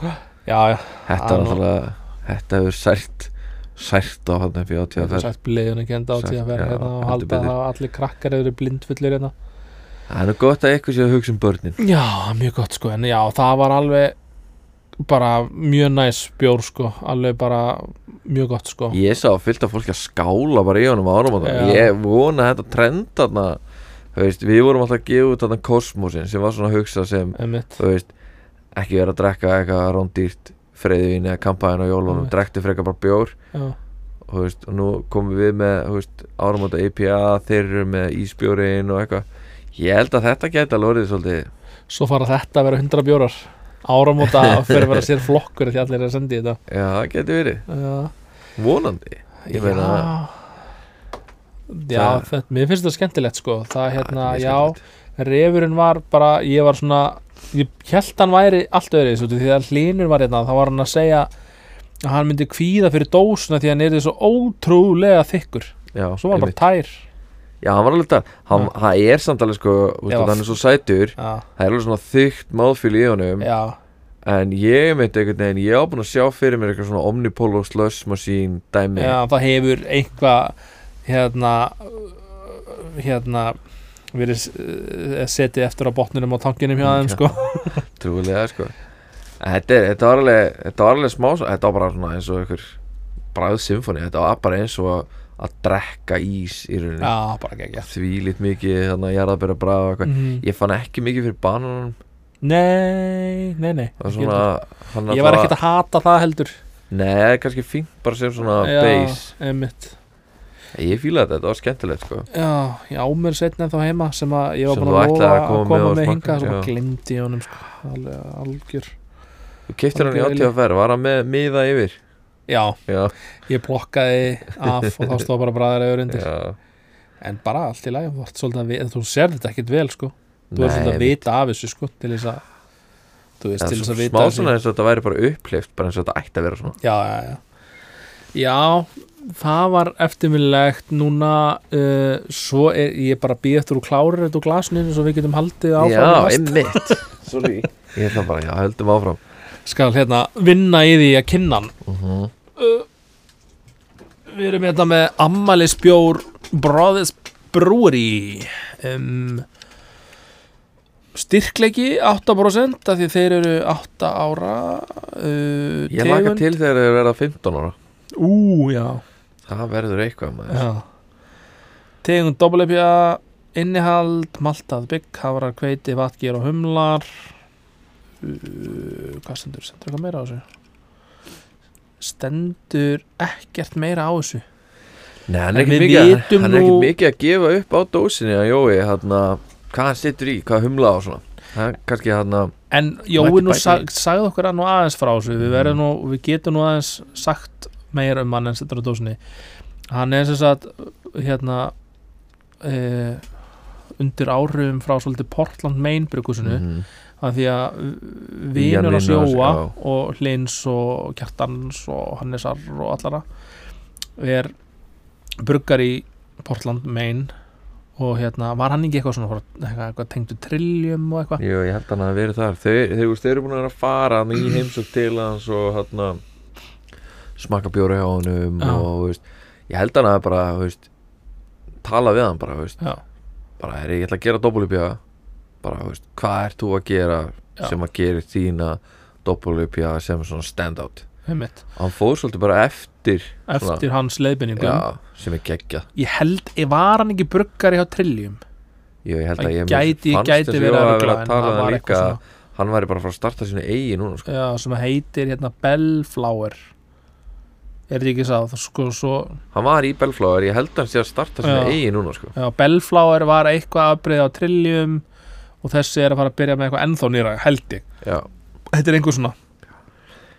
S1: Já, já,
S2: þetta er
S1: Anna.
S2: náttúrulega þetta hefur sært sært á hann upp í átti
S1: þetta
S2: að
S1: er
S2: ferra
S1: sætt bleðunum kenda á
S2: Sært,
S1: því að vera
S2: já,
S1: hérna og
S2: heldur
S1: halda
S2: betur.
S1: það að allir krakkar eru blindfullir hérna
S2: Það er nú gott að eitthvað sé að hugsa um börnin
S1: Já, mjög gott sko, en já, það var alveg bara mjög næs bjór sko, alveg bara mjög gott sko
S2: Ég sá fyllt af fólki að skála bara í honum árum og
S1: Já.
S2: ég vona að þetta trend þarna þú veist, við vorum alltaf að gefa út þarna kosmosin sem var svona að hugsa sem
S1: Einmitt.
S2: þú veist, ekki vera að drekka eitthvað rándýrt freyðivín eða kampæðin og jólunum,
S1: Einmitt.
S2: drekkti frekar bara bjór
S1: Já,
S2: og, þú veist, og nú komum við með þú veist, áramóta IPA, þeir eru með ísbjórin og eitthvað ég held að þetta geti alveg orðið svolítið
S1: Svo fara þetta að vera 100 bjórar Áramóta fyrir að vera sér flokkur því allir er að sendi þetta
S2: já, það geti verið,
S1: Já,
S2: vonandi Ég meina-
S1: Já,
S2: Það-
S1: þetta, mér finnst þetta skemmtilegt sko Það hérna,
S2: Það er
S1: já,
S2: skemmtilegt.
S1: refurinn var bara, ég var svona ég held hann væri allt öðru því þegar hlinur var hérna, þá var hann að segja að hann myndi kvíða fyrir dósuna því að hann er svo ótrúlega þykkur
S2: já,
S1: svo var hann bara
S2: einmitt.
S1: tær
S2: já, hann var alveg þar, hann,
S1: Já.
S2: það er samt alveg sko,
S1: Já.
S2: þú veist, hann er svo sætur
S1: já,
S2: það er alveg svona þykkt máðfýl í honum
S1: já,
S2: en ég meinti einhvern veginn, ég á búin að sjá fyrir mér eitthvað svona omnipolo slush machine dæmi
S1: já, það hefur einhvað hérna hérna verið s- eh, setið eftir á botnunum á tankinum hjá þeim
S2: Já.
S1: sko
S2: Trúlega sko En Þetta, er, þetta, var alveg, þetta var alveg smá Þetta var bara svona eins og einhver bræð symfóni, þetta var bara eins og að, að drekka ís í rauninni
S1: já, bara geggjað
S2: því lít mikið þannig að jarðabera bræða eitthvað
S1: Mhm.
S2: Ég fann ekki mikið fyrir bananum
S1: nei, nei, nei
S2: það var
S1: ekki
S2: svona,
S1: heldur.
S2: hann
S1: ég var
S2: alltaf-
S1: ekkert að hata það heldur
S2: Nei, kannski fínt bara sem svona
S1: Já,
S2: base
S1: einmitt
S2: Ég fílaði þetta, þetta var skemmtilegt sko
S1: Já, ég á mér setna þá heima sem að ég var
S2: Sem
S1: búin
S2: þú
S1: að lofa
S2: ætlaðir
S1: að koma með, með
S2: og smakka,
S1: hinga sem
S2: já.
S1: bara glemdi ég honum sko, alveg algjör
S2: Þú keiptir hann í
S1: Algjörlega.
S2: átíðaferð, var hann með miða yfir
S1: Já,
S2: Já,
S1: ég blokkaði af og þá stóð bara bræðar eður undir
S2: já
S1: En bara allt í lagi, þú ert svolítið að við, þú sér þetta ekkit vel sko Þú ert svolítið að
S2: einmitt.
S1: vita af þessu sko til þess að Þú veist,
S2: Það
S1: til
S2: er
S1: þess að
S2: svo-
S1: vita
S2: Smá svona eins og þetta væri bara uppleift bara eins og þetta ætti að vera svona
S1: Já, já, já Já, það var eftirminnilegt núna uh, svo er ég bara býð eftir og klárir þetta úr glasninu svo við getum haldið áfram í
S2: Já,
S1: næsta.
S2: einmitt Sorry Ég ætla bara, já, höldum áfram
S1: skal hérna vinna í því að kynna hann
S2: uh -huh.
S1: Við erum hérna með Amalisbjór Brothers Brewery um, styrkleiki 8% af því þeir eru 8 ára uh,
S2: Ég laka til þegar þeir verða 15 ára
S1: Ú, já,
S2: Það verður eitthvað maður
S1: já. tegund dobblepja innihald, maltað bygg hafrar, kveiti, vatgýr og humlar uh, hvað stendur stendur eitthvað meira á þessu stendur ekkert meira á þessu
S2: Nei,
S1: En
S2: hann er ekkert
S1: við
S2: mikið,
S1: vitum
S2: hann er ekkert
S1: nú-
S2: mikið að gefa upp á dósinni að Jói, hann hvað hann sittur í, hvað humla á svona hann, kannski hann að
S1: En Jói
S2: Mætti
S1: nú
S2: bæta
S1: sag, sagði okkur að nú aðeins frá þessu við,
S2: Mm.
S1: verðum nú, við getum nú aðeins sagt meira um hann en settur á dósinni Hann er sem sagt hérna e, undir áhrifum frá svolítið Portland Main brygghúsinu
S2: Mhm.
S1: af því að
S2: Ian
S1: vinur hans
S2: vinur hans,
S1: Jóa
S2: já.
S1: og Hlins og Kjartans og Hannesar og allara er bruggar í Portland Main og hérna var hann ekki eitthvað svona eitthvað, eitthvað tengdu trilljum og eitthvað
S2: Jú, ég held hann að verið þar þeir, þeir, þeir, þeir eru búin að vera að fara hann í heimsók til hans og hann að smaka bjóri á honum
S1: Já.
S2: og þú veist, ég held hann að bara þú veist, tala við hann bara, þú veist,
S1: Já,
S2: bara er, ég ætla að gera doppelupja bara, þú veist, hvað ert þú að gera
S1: Já.
S2: sem að gerir þína doppelupja sem svona standout
S1: heimitt
S2: hann fór svolítið bara eftir
S1: eftir hans leiðbendingum
S2: Já, sem er geggjað
S1: ég held, ég var hann ekki bruggari hjá Trillium
S2: Jú, ég held
S1: Það
S2: að ég
S1: gæti-
S2: fannst
S1: gæti
S2: þessu
S1: verið að
S2: að vera
S1: rugla,
S2: að
S1: en
S2: tala
S1: það var
S2: það líka
S1: eitthvað
S2: að hann væri bara að fara að starta sínu eigi núna sko.
S1: já, sem heitir hérna Bellflower er þetta ekki sá það sko svo,
S2: hann var í Belflower, ég held að hann sé að starta
S1: Já.
S2: sínu eigi núna sko.
S1: já, Bellflower var eitthvað afbreið á Trillium og þessi er að fara að byrja með eitthvað ennþá nýra held ég,
S2: Já.
S1: þetta er einhver svona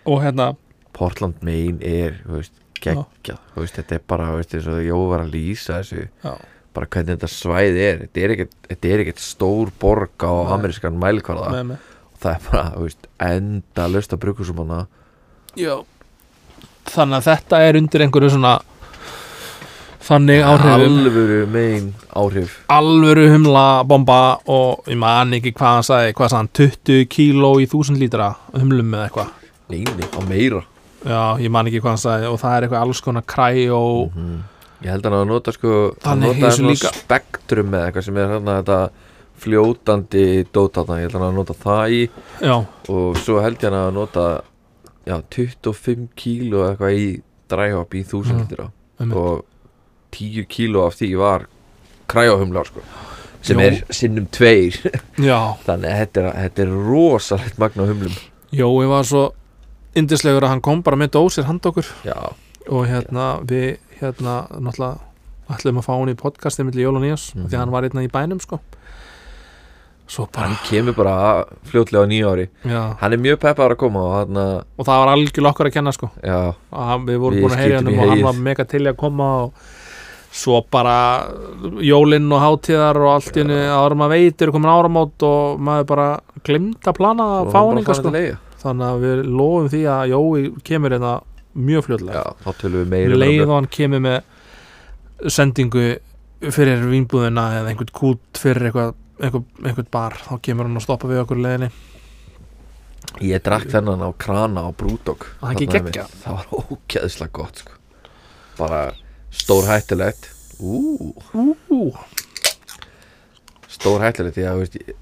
S1: og hérna,
S2: Portland Maine er þú veist, geggjað, þú veist, þetta er bara þú veist, eins og Jó var að lýsa þessu
S1: já,
S2: bara hvernig þetta svæði er þetta er ekkert, þetta er ekkert stór borg á
S1: Nei.
S2: amerískan mælkvarða
S1: með mig
S2: það er bara þú veist, enda löst að bruku sem hana
S1: já. þannig að þetta er undir einhverju svona þannig áhrifum
S2: alvöru Maine áhrif
S1: alvöru humla bomba og ég man ekki hvað hann sagði hvað sagði hann, 20 kíló í 1000 lítra humlum eða eitthvað
S2: neini, á meira
S1: já, ég man ekki hvað hann sagði og það er eitthvað alls konar kræ og
S2: Mhm. Ég held að hann að nota sko
S1: Þannig
S2: hann nota
S1: í þessu
S2: hérna
S1: líka.
S2: spektrum eða eitthvað sem er hérna þetta fljótandi dótatan, ég held að hann að nota það í
S1: já,
S2: og svo held ég hann að nota já, 25 kíló eða eitthvað í dræhop í 1000
S1: Mm,
S2: litra
S1: einmitt.
S2: og 10 kíló af því var kræjáhumlar sko sem
S1: Jó.
S2: er sinnum tveir
S1: já,
S2: þannig að þetta er, þetta er rosalegt magna humlum
S1: Jói var svo indislegur að hann kom bara með dósir hand okkur
S2: já,
S1: og hérna við hérna náttúrulega ætlum að fá hann í podcasti millir Jól og Nýjas
S2: Mhm.
S1: því að hann var hérna í bænum sko svo bara,
S2: hann kemur bara fljótlega á nýja ári
S1: já,
S2: hann er mjög peppar að koma og hann að,
S1: og það var algjörlega okkur að kenna sko
S2: já,
S1: að hann- við vorum
S2: Við
S1: búin að heyra hann
S2: skiptum í
S1: um og hann
S2: heyið.
S1: var mega til í að koma og svo bara jólinn og hátíðar og allt í henni árum að veitir komin áramót og maður bara glimta að plana að
S2: og
S1: fá
S2: hann
S1: hann
S2: bara
S1: yngar
S2: farin
S1: sko
S2: til eiga
S1: þannig að við lofum því að Jói kemur hérna mjög fljóðlega
S2: Já, þá tölum við meira um
S1: leið
S2: það.
S1: og hann kemur með sendingu fyrir vínbúðina eða einhvern kút fyrir eitthvað einhver, einhvern bar, þá kemur hann að stoppa við okkur í leiðinni
S2: Ég drakk þennan á krana á Brúdók
S1: Það er ekki
S2: Þarna
S1: geggjað.
S2: yfir. Það var ógeðslega gott sko. Bara stór hættilegt Ú,
S1: Ú, stór
S2: stór hættilegt Ég veist, ég-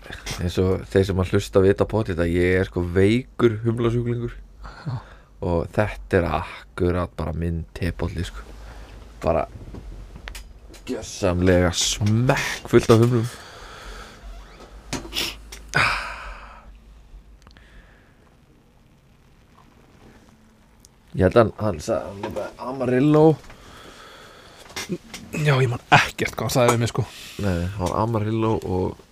S2: eins og þeir sem að hlusta vita potið að ég er sko veikur humlasjúklingur og þetta er akkurat bara minn tepolli sko. bara gjössamlega smekk fullt af humlum Ég held að hann, hann sagði hann var bara Amarillo
S1: Já, ég man ekkert hvað hann sagði við mig sko
S2: Nei, það var Amarillo og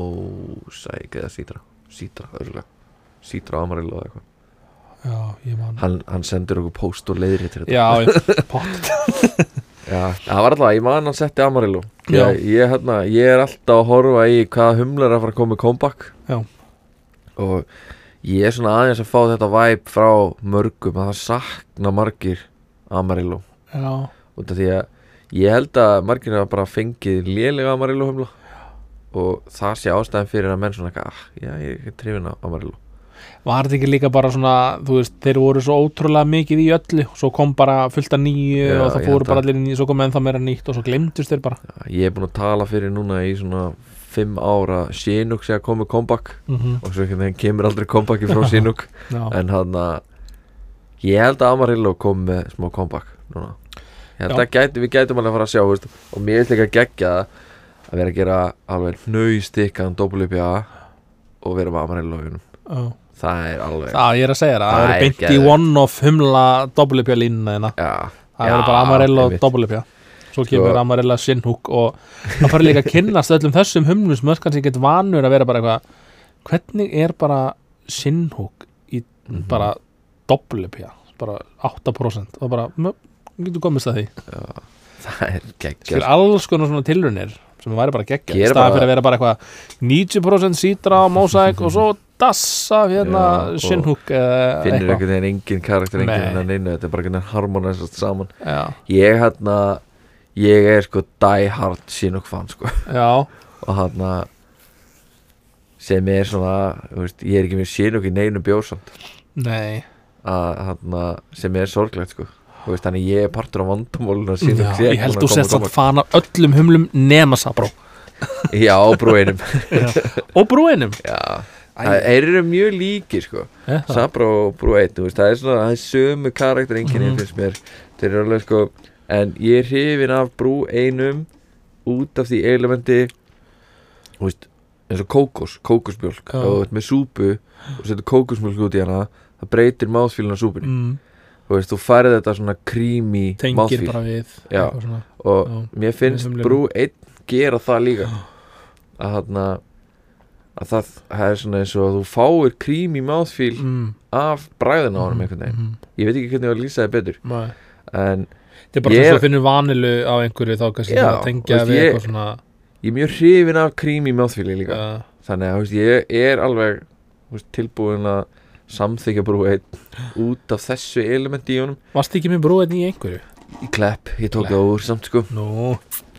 S2: Mosaic eða Citra Citra, örgulega Citra Amarillo eða eitthvað
S1: Já, ég man
S2: hann, hann sendur okkur post og leiðri til þetta
S1: Já, já, pott
S2: Já, það var alltaf, ég man hann setti Amarillo
S1: Já.
S2: ég, ég, hérna, ég er alltaf að horfa í hvaða humlar er að fara að koma í comeback
S1: Já.
S2: Og ég er svona aðeins að fá þetta væp frá mörgum að það sakna margir Amarillo
S1: Já,
S2: út af því að ég held að margir hafa bara fengið lélega Amarillo humla og það sé ástæðan fyrir að menn svona eitthvað, ah, já, ég er trefin á Amarillo
S1: var þetta ekki líka bara svona þú veist, þeir voru svo ótrúlega mikið í öllu og svo kom bara fullt að nýju
S2: Já,
S1: og það
S2: ég
S1: fóru
S2: held
S1: bara
S2: að-
S1: allir í nýju, svo kom ennþá meira nýtt og svo glemdust þeir bara
S2: ég er búin að tala fyrir núna í svona fimm ára Sinuk sé að koma með comeback
S1: Mhm.
S2: og svo ekki þegar kemur aldrei comebacki frá Sinuk
S1: Já.
S2: en hann að ég held að Amarillo kom með smá comeback núna ég held
S1: Já.
S2: að gæti, við gætum alveg að fara að sjá veist, og mér er líka að gegja að vera að gera alveg hnaustikkan WPA og vera með Amarillo í honum.
S1: Já.
S2: það er alveg
S1: Já, ég er að segja það, það
S2: Það
S1: verður
S2: er
S1: beint í
S2: geðveikt.
S1: one-off humla dobblepja línuna þina
S2: já,
S1: það
S2: Já,
S1: verður bara Amarella og
S2: einmitt.
S1: dobblepja svo
S2: Sko-
S1: kemur Amarella sinnhúk og það fara líka að kynnast öllum þessum humlum sem öll kannski get vanur að vera bara eitthvað hvernig er bara sinnhúk í
S2: Mhm.
S1: bara dobblepja bara 8% og bara, mö, getur komist að því
S2: það er
S1: skil
S2: gegja
S1: alls konar svona tilrunir sem væri bara geggja, í
S2: Gera
S1: staðan
S2: bara-
S1: fyrir að vera bara eitthvað 90% sítra á mósæk og svo dassa hérna
S2: Já, og
S1: sinnhúk eða eitthvað
S2: finnir einhvern veginn engin karakter engin
S1: Nei.
S2: hennan einu, þetta er bara einhvern veginn harmonæsast saman
S1: já,
S2: ég hérna ég er sko die hard Sinuk fan sko
S1: já,
S2: og hann sem er svona þú veist, ég er ekki með Sinuk í neinu bjósamt
S1: nei
S2: að hérna sem er sorglegt sko Þú veist, þannig ég er partur á vandamólinu að Sinuk
S1: já,
S2: sé ekki
S1: ég held
S2: búin
S1: þú
S2: að
S1: sett
S2: koma
S1: samt fan af öllum humlum nema sabró
S2: fram. já, brúinum
S1: og brúinum
S2: já, það eru mjög líkir sko
S1: Er það?
S2: Sabra og Brú 1, þú veist, það er svona það er sömu karakter enginn
S1: Mhm.
S2: finnst mér þeir eru alveg sko, en ég er hrifin af Brú 1 út af því elementi þú veist, eins og kókos, kókosmjölk
S1: Já.
S2: og þú veist með súpu og setur kókosmjölk út í hana það breytir máðfílun á súpunni
S1: mm,
S2: þú veist, þú færið þetta svona creamy
S1: tengir
S2: máðfíl
S1: bara við
S2: Já.
S1: eitthvað svona.
S2: og
S1: Já,
S2: mér finnst
S1: humlunum.
S2: Brú 1 gera það líka að þarna að það, það er svona eins og að þú fáir creamy máðfíl
S1: mm,
S2: af bræðin á honum einhvern veginn
S1: mm,
S2: ég veit ekki hvernig ég var að lýsa það betur
S1: nei.
S2: en
S1: þetta er bara
S2: Ég-
S1: þess að finnir vanilu á einhverju þá kannski
S2: Já,
S1: það tengja
S2: veist,
S1: við
S2: ég-
S1: eitthvað svona
S2: ég er mjög hrifin af krím í mjóðfíli líka
S1: uh,
S2: þannig að þú veist, ég er alveg þú veist, tilbúin að samþykja brú einn út af þessu elementi í honum
S1: varst ekki með brúin í einhverju
S2: í klepp, ég tók það úr samt sko
S1: nú,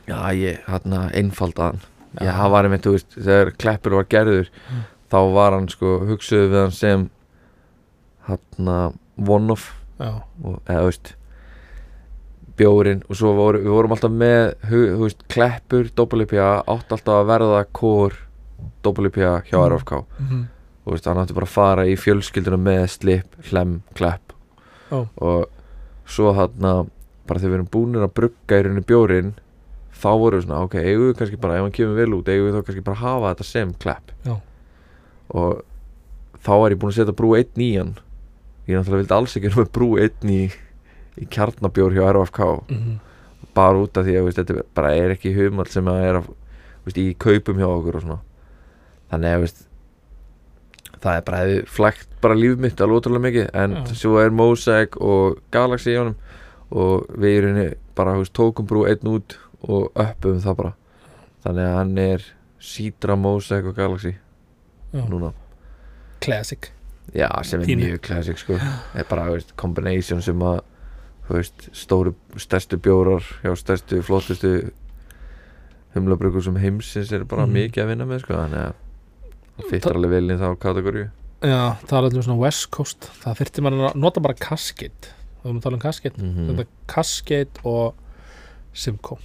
S2: já ég hérna einfaldaðan
S1: Já.
S2: já Mm. hann var einmitt þú veist þegar kleppur var gerður þá var hann sko hugsuðu við hann sem hérna one of
S1: já,
S2: og, eða, þú veist bjórin og svo voru, við vorum alltaf með hu, þú veist, kleppur, doppelupja átt alltaf að verða kór doppelupja hjá
S1: Mm.
S2: RFK
S1: mhm,
S2: og veist, hann átti bara að fara í fjölskylduna með slip, hlem, klepp
S1: Ó.
S2: og svo hann bara þegar við erum búinir að brugga í rauninni bjórin þá vorum við svona, ok, eigum við kannski bara ef hann kemur vel út, eigum við þá kannski bara að hafa þetta sem klepp
S1: Já.
S2: og þá er ég búinn að setja brú 1 í hann ég náttúrulega vildi alls ekki vera með brú 1 í, í kjarnabjór hjá RFK
S1: mhm,
S2: bara út af því að veist, þetta bara er ekki humall sem að er að, veist, í kaupum hjá okkur og svona þannig að veist, það er bara hefði flækt bara líf mitt alveg ótrúlega mikið en
S1: Já.
S2: svo er Mosaic og Galaxy í honum og við í rauninni bara þú veist, tókum brú einn út og uppum það bara þannig að hann er Sidra, Mosaic og Galaxy
S1: Já.
S2: núna
S1: classic
S2: Já, sem er
S1: Þínu.
S2: mjög classic sko er bara, þú veist, combination sem að þú veist, stóru, stærstu bjórar hjá stærstu, flottustu humlabrukur sem heimsins er bara
S1: Mm.
S2: mikið að vinna með sko þannig að
S1: Ta-
S2: fyttar alveg vel inn þá kategoríu
S1: já, það er allir svona west coast það þyrfti maður að nota bara kaskit þá erum við að tala um kaskit
S2: mm
S1: þetta kaskit og Simcoe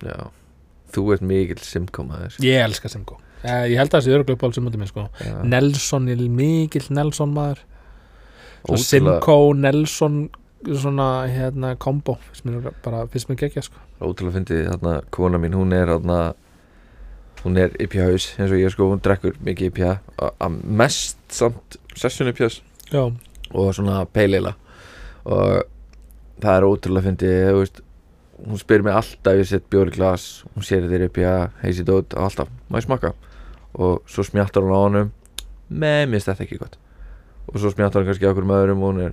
S2: Já, þú ert mikill simkomaður sko.
S1: Ég elska Simcoe Eh, Ég held að þessi örgla uppáhalds um þetta minn sko
S2: Já,
S1: Nelson, ég er mikill Nelson maður Svo
S2: ótrúlega-
S1: Simcoe, Nelson svona hérna kombo finnst mér bara, finnst mér gegja sko
S2: ótrúlega fyndið þarna kona mín hún er þarna hún er IPA haus eins og ég sko hún drekkur mikið IPA að- að mest samt session IPAs
S1: Já,
S2: og svona peileila og það er ótrúlega fyndið þú veist, hún spyr mig alltaf ég set bjóri glas, hún sér þetta upp í að heisi dót, alltaf, má ég smakka og svo smjáttar hún á honum með, mér finnst þetta ekki gott og svo smjáttar hún kannski á okkur öðrum og hún er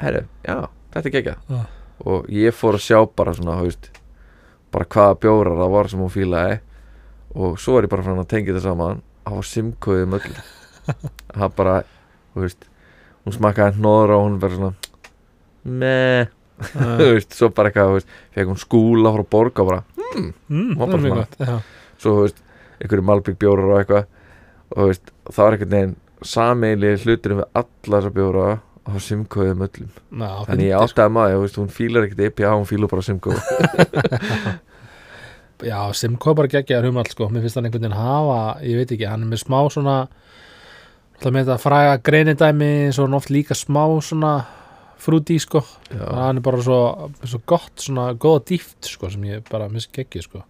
S2: herru, já, þetta er gegja
S1: Já.
S2: og ég fór að sjá bara svona, þú veist bara hvaða bjórar það var sem hún fílaði og svo var ég bara fann að tengja þetta saman á simkóðum öll það bara, þú veist hún smakkaði hnóður og hún verður svona meh, þú
S1: uh,
S2: veist, svo bara eitthvað, þú veist fekk hún skúla frá borga bara
S1: mm, það er
S2: Var bara
S1: mjög
S2: svona.
S1: gott já.
S2: svo, þú veist, einhverju malbygg bjórar og eitthvað og þú veist, það var einhvern veginn sameiglega hluturinn við alla þessar bjóra á simkóðum öllum
S1: Ná,
S2: þannig ég
S1: fyndið, sko.
S2: áttaði maður, þú veist, hún fílar ekkert IPA, hún fílar bara simkóð
S1: já, Simco er bara geggjaður humall sko, mér finnst hann einhvern veginn hafa ég veit ekki, hann er með smá svona alltaf með þetta fræga greinindæmi eins og hann oft líka smá svona frúti sko,
S2: Já.
S1: hann er bara svo, svo gott, svona góða dýft sko, sem ég bara minnst geggið sko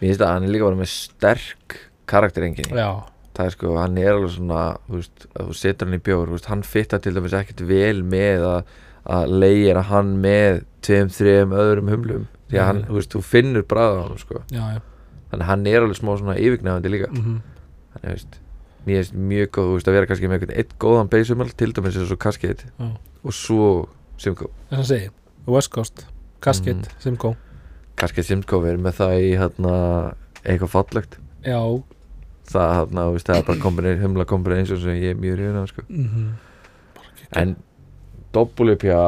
S2: Mér finnst að hann er líka bara með sterk karakterenginni
S1: já,
S2: það er sko, hann er alveg svona þú veist, að þú setur hann í bjór, þú veist, hann fittar til dæmis ekkert vel með að, að leigja hann með tveim, þreim öðrum humlum, því að hann,
S1: Nei.
S2: þú veist, þú finnur bræða hann, sko,
S1: já, já
S2: þannig að hann er alveg smá svona yfirgnæfandi líka,
S1: mm
S2: þannig, þú veist mér finnst mjög góð, þú veist, að vera kannski með einhvern eitt góðan beisumöl, til dæmis eins og kaskið
S1: Já.
S2: og svo Simco
S1: þess að segja, West Coast Casket,
S2: Mhm.
S1: Simco
S2: kaskið Simco er með það í, hérna, eitthvað fallegt
S1: já,
S2: það, hérna, þú veist, það er bara kombinir, humla kombinir sem ég er mjög ríðin af, sko
S1: mm
S2: En WPA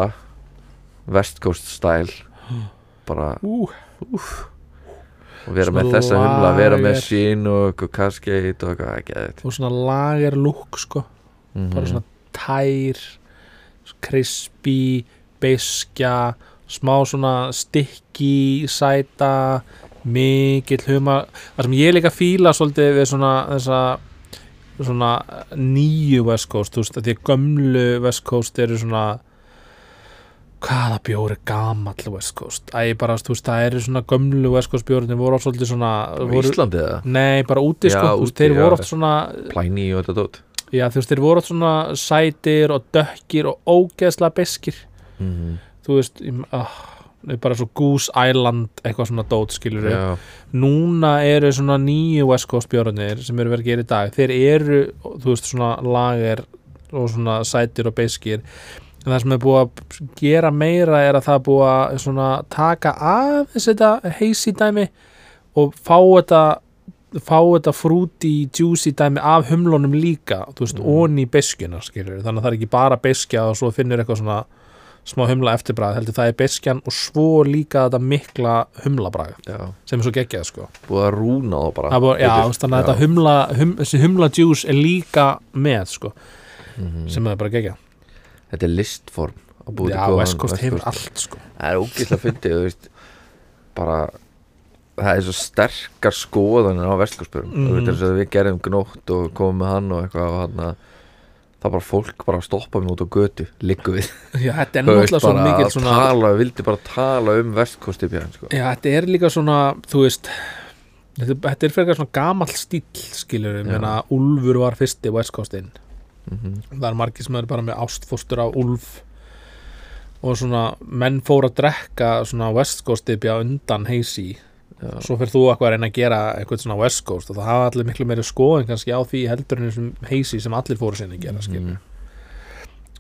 S2: West Coast style bara
S1: ú,
S2: og vera með
S1: Svona
S2: þessa humla, vera með
S1: lager.
S2: sín og eitthvað kaskeitt og eitthvað ekki að Mhm.
S1: og svona lager lúk sko bara svona tær crispy, beskja smá svona stikki sæta mikill huma það sem ég líka fíla svolítið við svona þessa svona nýju West Coast þú veist, að því að gömlu West Coast eru svona hvaða bjór er gamall West Coast æ, bara, þú veist, það eru svona gömlu West Coast bjórnir voru oft svolítið svona voru,
S2: Íslandi eða?
S1: nei, bara úti
S2: Já,
S1: sko, þú veist,
S2: úti,
S1: þeir
S2: já.
S1: voru oft svona
S2: Plæni og þetta dót
S1: Já, þú veist, þeir voru oft svona sætir og dökkir og ógeðslega beskir
S2: mm -hmm.
S1: Þú veist, ég, oh, bara svo Goose Island eitthvað svona dót skilur við
S2: Já,
S1: Núna eru svona nýju West Coast björnir sem eru verið að gera í dag Þeir eru, þú veist, svona lager og svona sætir og beskir En það sem er búið að gera meira er að það er búið að svona taka af þess þetta heisi dæmi og fá þetta fá þetta frúti, juicy dæmi af humlunum líka, þú veist,
S2: Mm.
S1: mm. onni beskjuna, skilur, þannig að það er ekki bara beskja og svo finnur eitthvað svona smá humla eftirbræð, heldur það er beskjan og svo líka þetta mikla humlabræð
S2: já,
S1: sem er svo geggjað, sko
S2: búið að rúna þá bara
S1: Það er bara, já,
S2: betur.
S1: þú veist, þannig að þetta humla hum, þessi humla juice er líka með, sko,
S2: Mhm.
S1: sem er bara geggjað
S2: Þetta er listform að búa til
S1: Já,
S2: góðan
S1: West Coast hefur
S2: Coast.
S1: allt, sko
S2: Það er ógislega fyndið, þú veist bara það er svo sterkar skoðanir á vestljósbjörnum mm.
S1: Mhm.
S2: þú veit þess að við gerðum gnótt og komum með hann og eitthvað og hann að það bara fólk bara stoppa mig út á götu liggu við,
S1: Já, þetta er
S2: Þú veist,
S1: náttúrulega svo
S2: bara
S1: mikil
S2: að
S1: svona
S2: tala, vildi bara tala um vestkostið björn sko.
S1: Já, þetta er líka svona, þú veist þetta, þetta er fyrir svona gamall stíll skilur við,
S2: Já.
S1: menna Úlfur var fyrsti West Coastinn,
S2: mm -hmm.
S1: það er margir sem er bara með ástfóstur á Úlf og svona menn fór að drekka svona West Coast bjá undan heisi,
S2: já,
S1: svo fyrir þú eitthvað að reyna að gera eitthvað svona West Coast og það hafa allir miklu meiri skoðin kannski á því heldur en þessum heisi sem allir fóru sinni að gera skilur
S2: mm,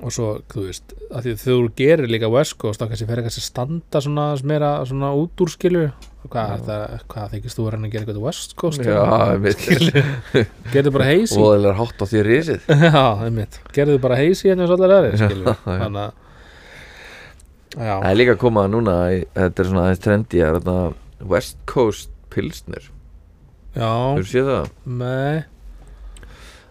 S1: og svo, þú veist, að því að þú gerir líka West Coast, þá kannski fer kannski að standa svona aðeins meira svona út úr skilu hvað,
S2: Já.
S1: er það, hvað þykist þú að reyna að gera eitthvað West Coast?
S2: já, mér skil
S1: Gerðu bara heisi
S2: og það er hátt á því risið
S1: Já, einmitt, gerðu bara heisi hérna eins og allar aðeins,
S2: Já,
S1: skilu
S2: já.
S1: þannig að
S2: það
S1: já,
S2: er líka að koma núna, í- þetta er svona aðeins trendi að þarna West Coast pilsnir, þú
S1: já,
S2: séu það?
S1: með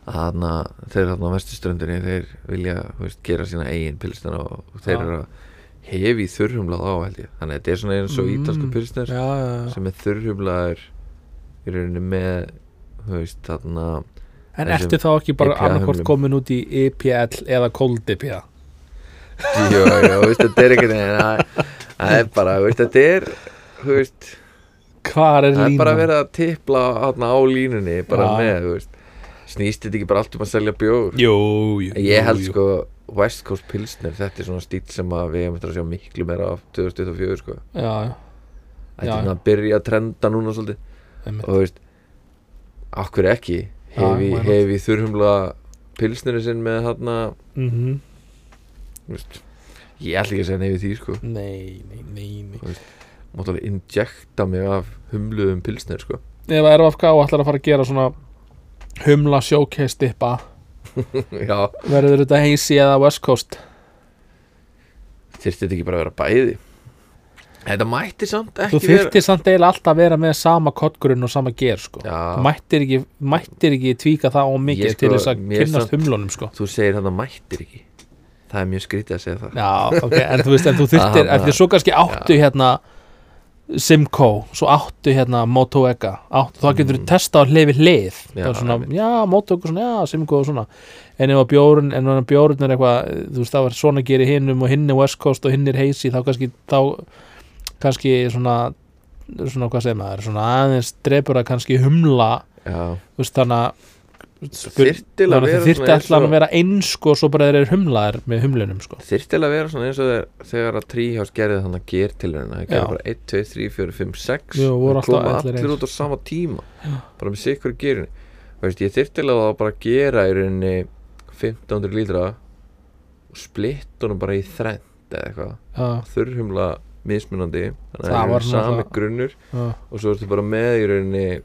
S2: að þarna, þeir þarna á vesturströndinni þeir vilja þú veist, gera sína eigin pilsner og þeir
S1: Já.
S2: eru að hefi þurrhumlað á held ég þannig að þetta er svona eins og
S1: Mm,
S2: ítalsku pilsner
S1: já, já, já.
S2: sem er þurrhumlaður í rauninni með þú veist, þarna,
S1: En
S2: þessum
S1: ertu þá ekki bara
S2: IPA
S1: annarkvort
S2: humlum.
S1: komin út í EPL eða Cold E IPA?
S2: jú, jú, veist, þetta er ekkert en það er bara, þú veist, þetta er þú veist,
S1: Hvar er
S2: það er
S1: línan?
S2: bara að vera að tipla þarna á línunni bara
S1: Já.
S2: með, þú veist snýst þetta ekki bara allt um að selja bjór
S1: Jú, jú,
S2: Ég held
S1: jú, jú.
S2: sko West Coast Pilsner, þetta er svona stíl sem að við hefum eftir að sjá miklu meira af 2024 sko.
S1: Já, já,
S2: Þetta
S1: Já.
S2: er svona að byrja að trenda núna svolítið
S1: einmitt
S2: og þú veist, akkur ekki hefi,
S1: why not?
S2: hefi þurrhumla pilsneri sinn með þarna
S1: mm
S2: þú veist, ég ætla ekki að segja neyfi því sko
S1: Nei, nei, nei, nei
S2: Máttu alveg injekta mig af humluðum pilsner sko
S1: ef að RFK ætlar að fara að gera svona humla showcase dippa
S2: Já,
S1: verður þetta heisi eða West Coast
S2: þyrfti þetta ekki bara að vera bæði Þetta mætti samt
S1: þú
S2: ekki
S1: þyrftir samt eiginlega alltaf að vera með sama kottgrunn og sama ger sko
S2: Já.
S1: Þú mættir ekki, mættir ekki tvíka það og mikið
S2: Ég, sko,
S1: til þess að
S2: mér
S1: kynnast
S2: samt-
S1: humlunum sko
S2: Þú segir þetta mættir ekki Það er mjög skrítið að segja það
S1: Já, ok, en þú veist, en þú þyrftir,
S2: Aha,
S1: en því svo kannski áttu hérna Simco, svo áttu hérna Moto Ega, áttu, þá getur þú
S2: Mm.
S1: testað hlifi hlið, já,
S2: Já,
S1: svona,
S2: einmitt.
S1: já, Moto Ega, svona, já, Simco og svona en ef að bjórun, en ef að bjórun er eitthvað þú veist, það var svona að gera í hinnum og hinn er West Coast og hinn er Hazy, þá kannski þá kannski svona svona, hvað segir maður, svona aðeins drepur að kannski humla,
S2: já
S1: þú veist, þannig að
S2: þyrtil að
S1: þannig að
S2: vera
S1: þið þyrfti
S2: svona eins
S1: allan
S2: og-
S1: að vera eins sko, svo bara þeir eru humlaðir með humlunum sko.
S2: Þyrfti eiginlega að vera svona eins og þegar, þegar að Tríhás gerði þannig að ger til hérna Það
S1: Já.
S2: gerði bara 1, 2, 3, 4, 5, 6
S1: Jú, voru alltaf allir
S2: allir
S1: eins.
S2: út á sama tíma Bara með sikkur gerin Veist, ég þyrfti eiginlega að bara að gera í rauninni 1500 lítra Og splitt honum bara í þrend eða eitthvað
S1: já,
S2: Þurrhumla mismunandi Þannig
S1: Það
S2: að það
S1: var
S2: er
S1: svona
S2: sami
S1: það-
S2: grunnur
S1: já,
S2: Og svo ertu bara með í rauninni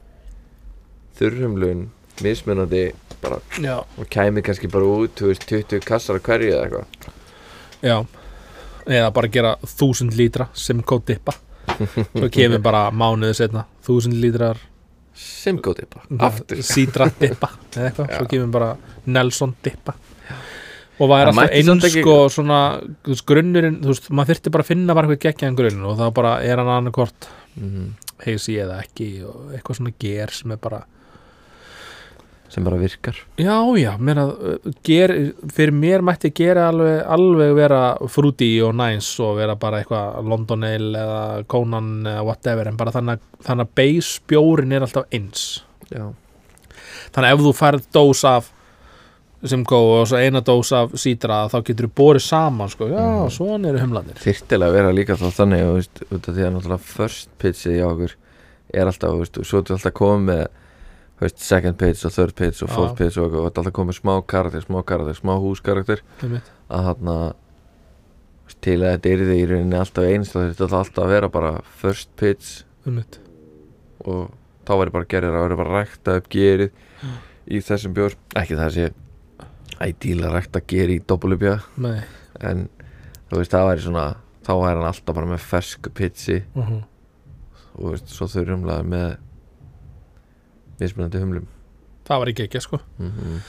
S2: Þurrhumlun mismunandi bara,
S1: já,
S2: Og kæmi kannski bara út þú veist, 20 kassar að hverju eða eitthvað
S1: já eða bara gera þúsund lítra Simco dippa svo kemur bara mánuðu setna þúsund lítrar
S2: Simco tippa, aftur
S1: sídra dippa eða eitthvað,
S2: Já.
S1: svo kemur bara Nelson dippa og það
S2: Það
S1: er alltaf
S2: mætti samt
S1: eins
S2: ekki-
S1: sko svona, þú veist, grunnurinn þú veist, maður þyrfti bara að finna bara eitthvað geggjaðan grunn og það bara er hann annarkort
S2: Mhm.
S1: heisi eða ekki og eitthvað svona ger sem er bara
S2: sem bara virkar
S1: Já, já, meira, uh, ger, fyrir mér mætti gera alveg, alveg vera frúti og næs og vera bara eitthvað London Ale eða Conan eða whatever en bara þannig, að- þannig að base bjórin er alltaf eins
S2: já,
S1: þannig að ef þú færð dós af Simcoe og svo eina dós af sítra þá getur þú borið saman sko, já,
S2: Mhm.
S1: svona eru humlanir
S2: þyrtilega að vera líka þá þannig þú veist, út af því að náttúrulega first pitchið hjá okkur er alltaf, þú veist, og svo ertu alltaf komið með þú veist, second pitch og third pitch og
S1: Já.
S2: fourth pitch og eitthvað, og þetta alltaf komið smá karakter smá karakter, smá húskarakter
S1: einmitt.
S2: að þarna þú veist, til að þetta yrði í rauninni alltaf eins þá þurfti þetta alltaf að vera bara first pitch
S1: Einmitt.
S2: og þá væri bara gerir að vera bara að rækta upp gerið í þessum bjór ekki það sé ideal að rækta gerið í doppelubjá
S1: Nei,
S2: en þú veist það væri svona þá væri hann alltaf bara með fersku pitsi
S1: uh
S2: og þú veist, svo þau rumlaði með mismunandi humlum
S1: það var ekki ekki sko
S2: mm -hmm.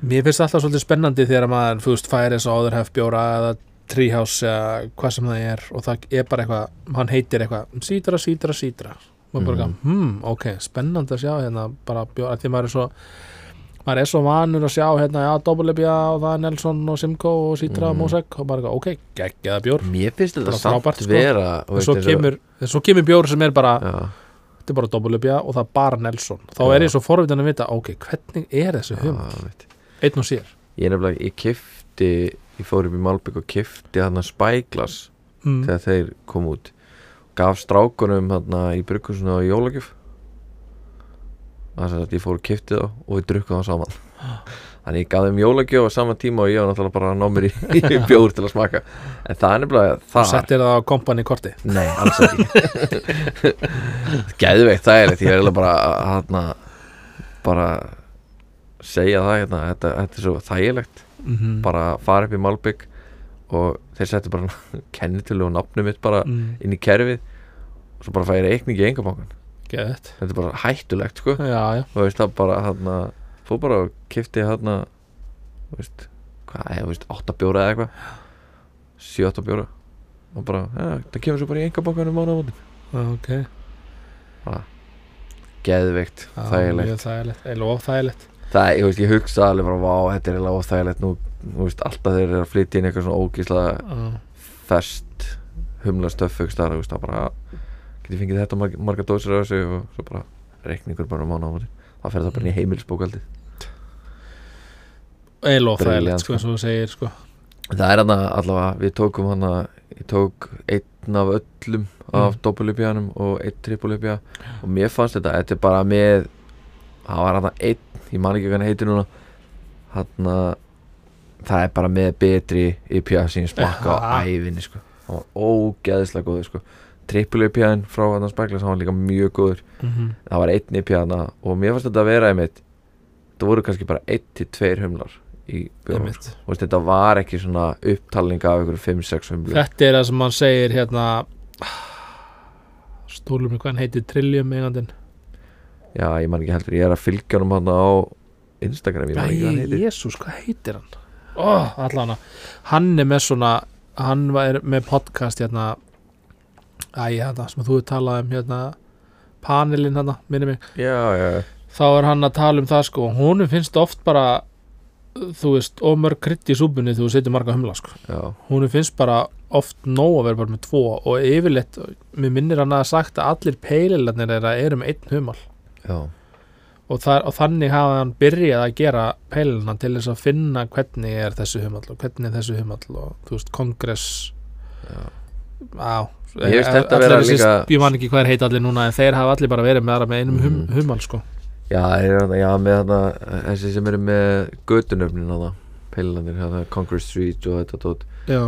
S1: Mér finnst alltaf svolítið spennandi þegar maður fúst færi eins og áður hef bjóra eða tríhás eða hvað sem það er og það er bara eitthvað, hann heitir eitthvað sítra, sítra, sítra og bara
S2: Mhm.
S1: eitthvað, hmm, ok, spennandi að sjá hérna bara bjóra, því maður er svo maður er svo vanur að sjá hérna já, Dobbelebja og það er Nelson og Simcoe og sítra og
S2: Mhm.
S1: Mosek og bara eitthvað, ok, geggjaða bjór
S2: mér finnst
S1: Bara
S2: þetta samt
S1: frábært, sko.
S2: vera þú
S1: og svo
S2: eins
S1: kemur, en svo kemur bjór sem er bara
S2: já,
S1: þetta er bara Dobbelebja og það er bara Nelson þá
S2: Já.
S1: er ég svo forvitin að vita, ok, hvernig er þessi
S2: já,
S1: hum,
S2: veit.
S1: einn og sér
S2: ég nefnilega, ég kifti ég fór upp í Malbygg og kifti hann að spæglas
S1: mm.
S2: þegar þeir kom út gaf strákunum þarna í brugghúsinu á jólagjöf þannig að ég fór og kipti þá og við drukkum þá saman þannig ég gaf þeim jólagjöf á sama tíma og ég var náttúrulega bara að ná mér í, í bjór til að smaka en það er nefnilega
S1: og
S2: þar
S1: settir það á kompani korti
S2: nei, alls ekki geðveikt það er ég er eiginlega bara að hana, bara segja það hérna þetta, þetta er svo þægilegt
S1: mm
S2: Mhm. bara að fara upp í Malbygg og þeir settu bara kennitölu og nafnum mitt bara
S1: mm,
S2: inn í kerfið og svo bara fæ ég reikning í engabankan
S1: geðveikt.
S2: þetta er bara hættulegt sko
S1: já, já,
S2: og veist það bara hann að fór bara og kifti hann að veist hvað er, veist, 8 bjóra eða eitthvað 7-8 bjóra og bara, ja, það kemur svo bara í engabankan um mánuðamóti
S1: ok
S2: geðveikt,
S1: Já,
S2: þægilegt
S1: mjög þægilegt, eða of þægilegt
S2: það, ég veist, ég hugsa alveg bara, vá, þetta er eiginlega óþægilegt nú, þú veist, alltaf þeir eru að flytja inn eitthvað svona ógísla
S1: Já,
S2: fest humla stöffugst þar, þú veist, það bara geti fengið þetta marga, marga dósir af þessu og svo bara reikningur bara um mánu ámati það fer það bara inn í heimilisbókaldið
S1: eða of
S2: Brilliant,
S1: þægilegt, sko,
S2: sko.
S1: eins og þú segir, sko
S2: það er hann allavega, við tókum hann ég tók einn af öllum af
S1: Mm.
S2: mm. doppelupjanum og einn trippelupja og mér fannst þetta, þetta er bara með það var hann einn, ég man ekki hvernig heitir núna hann það er bara með betri IPA sem ég smakka á
S1: Ja.
S2: ævinni sko. hann var ógeðislega góður sko. trippelupjan frá hann spæklas hann var líka mjög góður
S1: mhm,
S2: það var einn í pjana og mér fannst þetta að vera einmitt þetta voru kannski bara einn til tveir humlar í bjórum
S1: einmitt
S2: og þetta var ekki svona upptalninga af ykkur 5-6 humlur
S1: þetta er það sem hann segir hérna stúlum mig hvað hann heitir Trillium eigandinn
S2: já ég man ekki heldur, ég er að fylgja hann hann á Instagram, ég man ekki hvað hann heitir
S1: jésús, hvað heitir hann oh, allan hann er með svona hann var með podcast hérna Æ, þetta sem þú hefur talað um hérna panelinn hérna, minni mig
S2: já, já,
S1: þá er hann að tala um það sko honum finnst oft bara þú veist, ómörg krydd í súbunni þú setur marga humla sko
S2: já
S1: honum finnst bara oft nóg að vera bara með tvo og yfirleitt, mér minnir hann að hafa sagt að allir peililarnir þeirra eru með einn humal
S2: já,
S1: og, þar, og þannig hafa hann byrjað að gera peilina til þess að finna hvernig er þessu humal og hvernig er þessu humal og þú veist, kongress
S2: Já.
S1: á e,
S2: Mér finnst þetta vera líka-
S1: ég man ekki hvað er heita allir núna en þeir hafa allir bara verið með, aðra með einum hum,
S2: Mhm.
S1: humal sko
S2: já, er, þarna- já með þarna þessi sem eru með götunöfnin hana, peilandir, hana, Congress Street og þetta tótt
S1: já,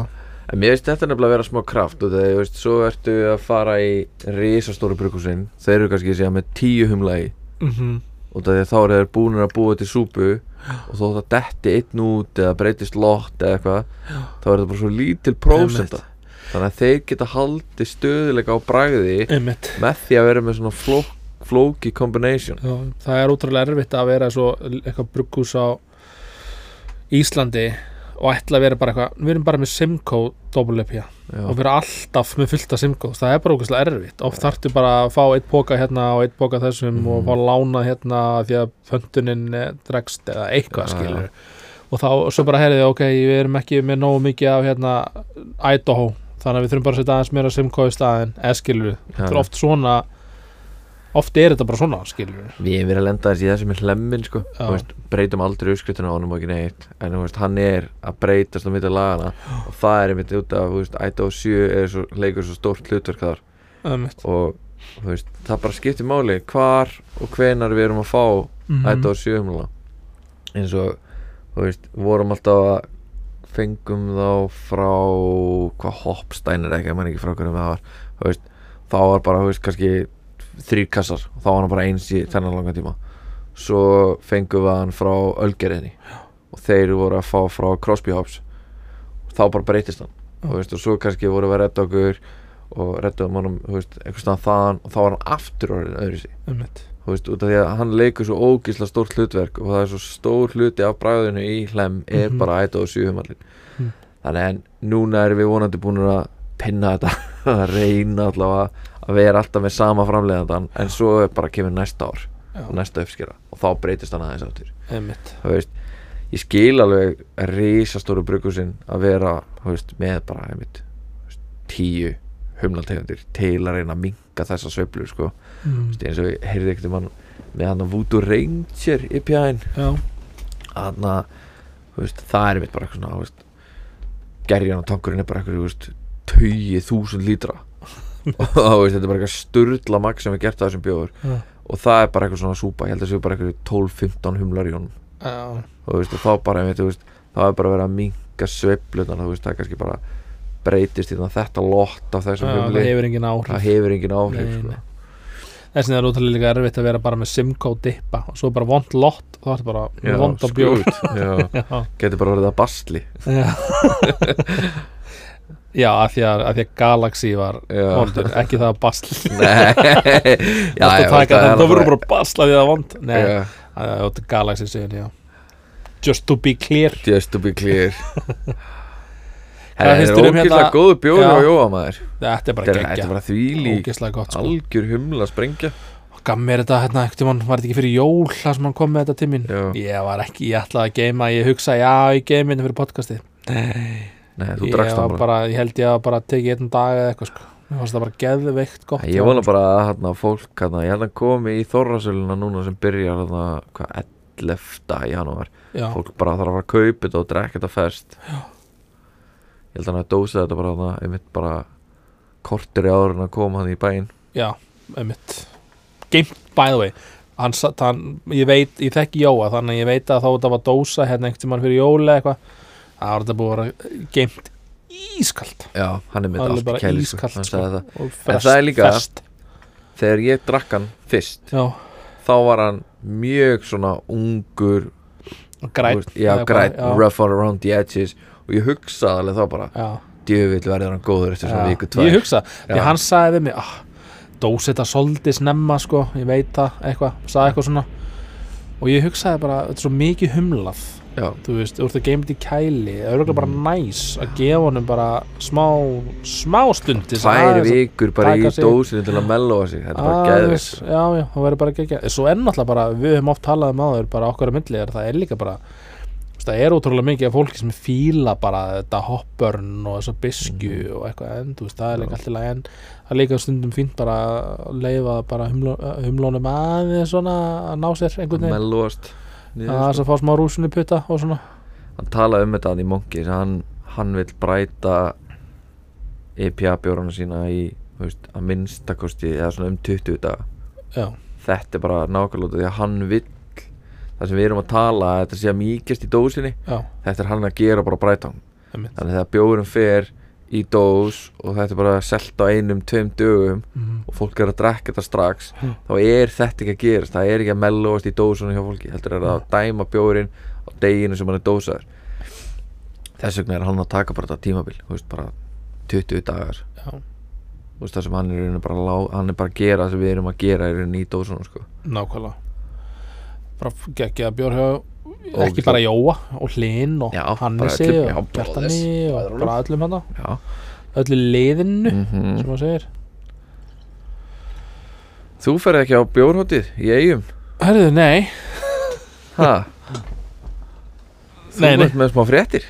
S2: En mér finnst þetta nefnilega að vera smá kraft og þegar, veist, svo ertu að fara í risastóru brukusinn, þeir eru kannski síðan með tíu humla í
S1: mm
S2: og þegar þá eru þeir búinir að búa til súpu og þó það detti einn út eða breytist lott eða eitthvað þá er þetta bara svo lítil prósenda þannig að þeir geta haldið stöðuleika á bragði
S1: einmitt
S2: með því að vera með svona flók, flóki combination
S1: Já, það er ótrúlega erfitt að vera svo eitthvað brugghús á Íslandi og ætla að vera bara eitthvað, við erum bara með Simco dobbul upp hér
S2: Já,
S1: og vera alltaf með fullta Simco það er bara ókvæslega erfitt og þarftu bara að fá eitt póka hérna og eitt póka þessum
S2: Mhm.
S1: og fá lánað hérna því að pöntunin eh, dregst eða eitthvað
S2: Já,
S1: skilur og þá og svo bara herðið, ok, við erum ekki með nógu mikið af hérna Idaho þannig að við þurfum bara að setja aðeins meira Simco í staðin eða skilur,
S2: já.
S1: þetta er oft svona oft er þetta bara svona skilur
S2: Við erum verið að lenda þessi í þessu með hlemmin sko.
S1: Já.
S2: Þú veist, breytum aldrei uppskriftunum á honum og ekki neitt en þú veist, hann er að breytast á mitt af lagana og það er einmitt út af þú veist, ætta og sjö er svo, leikur svo stórt hlutverk þar
S1: Ömmit.
S2: og þú veist, það bara skiptir máli hvar og hvenar við erum að fá
S1: Mm
S2: ætta og sjö umla eins og þú veist, vorum alltaf að fengum þá frá hvað Hopstein er ekki, mann ekki frá hverjum það var þú veist, þá var bara, þú veist, kannski þrýr kassar, þá var hann bara eins í þennan langa tíma svo fengum við hann frá Ölgerinni og þeir voru að fá frá Crosby Hops þá bara breytist hann
S1: Já.
S2: þú veist, og svo kannski voru við að redda okkur og reddaðum honum, þú veist, einhvers staðan þaðan og þá var hann aftur orðin öðru
S1: Ömmit.
S2: þú veist, út af því að hann leikur svo ógísla stórt hlutverk og það er svo stór hluti af bræðinu í hlem er
S1: Mhm.
S2: bara ætta og sjöfumallin
S1: Mhm.
S2: þannig en núna erum við vonandi búin að pinna þetta að reyna allavega að vera alltaf með sama framleiðandan en svo er bara kemur næsta ár og næsta uppskera og þá breytist hann aðeins áttur
S1: Ömmit.
S2: þú veist, ég skil alveg risastóru brukusinn að vera þú veist, með bara einmitt þú veist, tíu humlaltegundir til að reyna að minka þessa sveiflur sko
S1: Mm.
S2: Þú veist, eins og ég heyrði ekkert um hann með hann að Voodoo Ranger í pjæðin
S1: Já.
S2: hann að veist, það er mitt bara eitthvað svona þú veist, gerjan og tankurinn er bara eitthvað þú veist, tugi þúsund lítra og þú veist, þetta er bara eitthvað sturla magn sem er gert af þessum bjóður
S1: Já.
S2: og það er bara eitthvað svona súpa, ég held að séu bara eitthvað 12-15 humlar í honum
S1: Já.
S2: og, þú veist, og þá bara, einmitt, þú veist, þá er bara verið að minka sveiflunar, þú veist, það er kannski bara breytist í þetta lott af
S1: Já,
S2: þessum
S1: Það
S2: humli,
S1: hefur engin áhrif.
S2: það hefur engin áhrif
S1: Nei,
S2: sko.
S1: nei. Þess vegna er ótrúlega líka erfitt að vera bara með Simco dippa og svo bara vond lott og það er bara með vond á bjór.
S2: skrút, já,
S1: Já.
S2: getur bara orðið að basli
S1: Já. Já, af því að, af því að Galaxy var
S2: Já.
S1: vondur, ekki það að basl.
S2: Nei
S1: Já,
S2: já,
S1: það taka,
S2: veist,
S1: það,
S2: er
S1: það voru
S2: alveg-
S1: bara basla því að það var vond. Nei,
S2: Já,
S1: það er ótrúlega Galaxy segir, já. Just to be clear.
S2: Just to be clear
S1: Hvað
S2: Það er
S1: finnst þér um
S2: ógæslega
S1: hérna-
S2: góðu bjóður
S1: Já.
S2: og jóa maður
S1: Þetta er bara
S2: Þetta er- þetta er
S1: geggja.
S2: bara þvílík
S1: Ógeðslega gott, sko.
S2: algjör humla sprengja
S1: gaf mér þetta hérna ekkert um hann, var þetta ekki fyrir jól það sem hann kom með þetta til mín
S2: Já.
S1: ég var ekki, ég ætlaði að geima, ég hugsa já, ég geima þetta fyrir podcastið
S2: Nei, þú
S1: ég,
S2: drakst
S1: var
S2: það bara
S1: bara, ég held ég að bara tekið einn dag eða eitthvað sko mér fannst það bara geðveikt gott
S2: Ég vona bara að hérna, fólk hérna, Ég held að komi í Þorrasöluna núna sem byrjar hérna, hvað, 11. janúar
S1: já,
S2: Fólk bara þarf að fara að kaupa þetta og drekka þetta fest Já Ég held að hann að dósa þetta bara hérna, einmitt bara kortur í áður en að koma hann í bæinn
S1: já, einmitt geimt by the way hann, sa- hann, ég veit, ég þekki Jóa þannig að ég veit að þá þetta var dósa hérna einhvern tímann fyrir jól eða eitthvað það var þetta búið að vera geimt ískalt
S2: Já, hann er með
S1: alveg
S2: allt í
S1: bara
S2: kæli sko.
S1: ískalt
S2: Hann
S1: sko.
S2: sagði það
S1: og
S2: En
S1: ferst,
S2: það er líka-
S1: ferst.
S2: Þegar ég drakk hann fyrst
S1: já,
S2: Þá var hann mjög svona ungur þú
S1: græt
S2: veist, Já,
S1: eða
S2: græt,
S1: bara, já.
S2: rough all around the edges Og ég hugsaði alveg þá bara
S1: já
S2: Djöfull verður hann góður eftir svona
S1: Já,
S2: viku tvær
S1: Ég hugsa, því
S2: Já.
S1: hann sagði við mig ah, Dósi þetta svolítið snemma sko, ég veit það eitthvað, sagði eitthvað svona og ég hugsaði bara, þetta er svo mikið humlað
S2: já,
S1: þú veist, þú ert að geyma þetta í kæli það er auðvitað bara
S2: Mm.
S1: næs að gefa honum bara smá, smá stund til þess að
S2: tvær
S1: aðeins að-
S2: vikur bara í
S1: taka sig-
S2: dósinu til að melloa sig þetta er bara
S1: aðeins-
S2: geðvist
S1: já, já, það verður bara gegja svo ennáttúrulega bara, við höfum oft talað um áður bara okkar á milli, er, það er líka bara þú veist, það er ótrúlega mikið af fólki sem fíla bara þetta hoppörn og þessa bisku og eitthvað en, þú veist, það er líka
S2: Mhm. Já.
S1: allt í lagi en það er líka stundum fínt bara að leifa bara humló, humlónum aðeins svona að ná sér einhvern veginn
S2: melloast
S1: að það
S2: niður,
S1: að fá smá rúsun í putta og svona
S2: sko. hann talaði um þetta hann í Monkeys hann, hann vill bræta IPA bjórana sína í þú veist, að minnstakosti eða svona um 20 daga
S1: já, þetta
S2: þetta er bara nákvæmlega út af því að hann vill það sem við erum að tala að þetta sé að mýkjast í dósinni
S1: já,
S2: þetta er hann að gera bara brætan
S1: einmitt
S2: þannig að þegar bjórum fer í dós og þetta er bara selt á einum, tveim dögum
S1: Mhm.
S2: og fólk er að drekka þetta strax
S1: Mm.
S2: þá er þetta ekki að gerast, það er ekki að mellóast í dósunum hjá fólki, heldur er það að dæma bjórin á deginu sem hann er dósaður þess vegna er hann að taka bara þetta tímabil, þú veist, bara 20 dagar,
S1: já,
S2: þú veist, það sem hann er, í rauninni bara, að lá, hann er bara að gera það sem við erum að gera í rauninni í dósunum, sko
S1: nákvæmlega bara geggja bjórhjóð ekki
S2: Ógeðslega.
S1: bara Jóa og Hlinn og
S2: Já,
S1: Hannesi
S2: bara öllum, já,
S1: og Bjartani
S2: bróðis,
S1: og
S2: bræðrunum.
S1: bara öllum hann
S2: Já,
S1: öllu liðinu
S2: mm
S1: sem maður segir
S2: Þú ferð ekki á bjórhótið í eigum
S1: Herðu, nei,
S2: Ha? Þú
S1: nei, nei
S2: ert með smá fréttir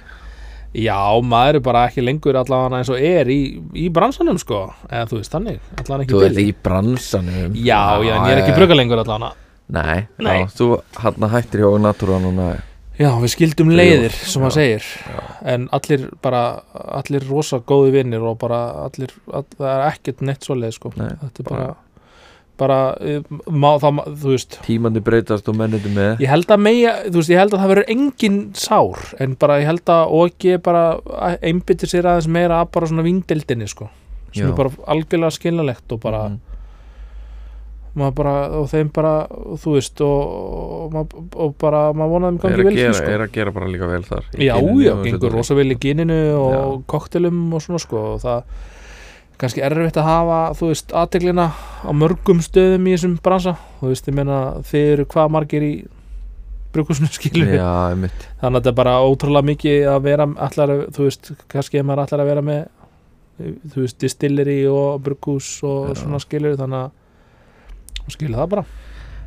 S1: Já, maður er bara ekki lengur allavega eins og er í, í bransanum sko eða þú veist þannig, allavega ekki
S2: Þú
S1: í
S2: ert
S1: bili.
S2: í bransanum
S1: Já, já, en ég er ekki brugga lengur allavega
S2: Nei,
S1: Nei.
S2: Já, þú hann hættir hjá Natúra núna
S1: Já, við skildum
S2: Þrjú.
S1: leiðir sem maður
S2: Já,
S1: segir en allir bara, allir rosa góði vinnir og bara allir, all, það er ekkert neitt svoleið sko
S2: Nei,
S1: þetta er bara,
S2: bara-
S1: bara, bara má, það, má- þú veist
S2: Tímandi breytast og menniti með
S1: Ég held að megi, þú veist, ég held að það verður engin sár, en bara ég held að OG bara einbyttir sér aðeins meira að bara svona vindeldinni, sko sem
S2: Já.
S1: er bara algjörlega skiljanlegt og bara,
S2: Mhm.
S1: maður bara og þeim bara, þú veist og, og, og, og bara, maður vonaði þeim gangi
S2: er að,
S1: vel
S2: gera,
S1: því, sko.
S2: er að gera bara líka vel þar í
S1: Já,
S2: Kínunni
S1: já,
S2: og
S1: gengur
S2: þessu
S1: rosa vel í gininu og
S2: Já.
S1: koktelum og svona, sko og það kannski erfitt að hafa, þú veist, aðteglina á mörgum stöðum í þessum bransa þú veist, ég meina, þið eru hvað margir í brukusinu skilur
S2: Já, einmitt
S1: þannig að þetta er bara ótrúlega mikið að vera allar, þú veist, kannski ef maður allar að vera með þú veist, distillery og brugghús og
S2: Já.
S1: svona skilur þannig að og skilur það bara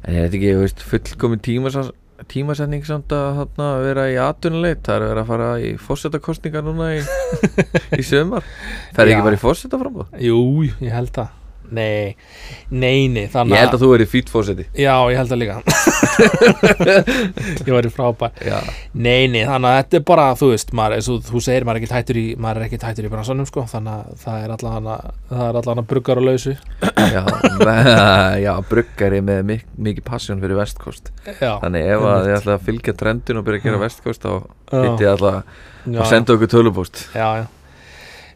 S2: En er þetta ekki, þú veist, fullkomin tímasas, tímasetning samt að þarna vera í atvinnuleit Það er að vera að fara í fórsetakostningar núna í, í sömar Það er
S1: Já.
S2: ekki bara í fórsetaframbóð
S1: Jú, ég held það Nei, nei, nei
S2: Ég
S1: þannig
S2: held að þú verið fýtt fórseti
S1: Já, ég held það líka Ég væri frábær
S2: Já,
S1: Nei, nei, þannig að þetta er bara, þú veist, maður, eins og þú segir, maður er ekki tættur í, maður er ekki tættur í bransanum, sko, þannig að það er allan að, það er allan að bruggar og lausu.
S2: já, me- já bruggari með mik mikið passjón fyrir vestkost
S1: Já.
S2: Þannig ef að þið ætla að fylgja trendin og byrja að gera vestkost þá
S1: Já.
S2: hitti ég ætla
S1: Já,
S2: að senda okkur tölupóst
S1: já, já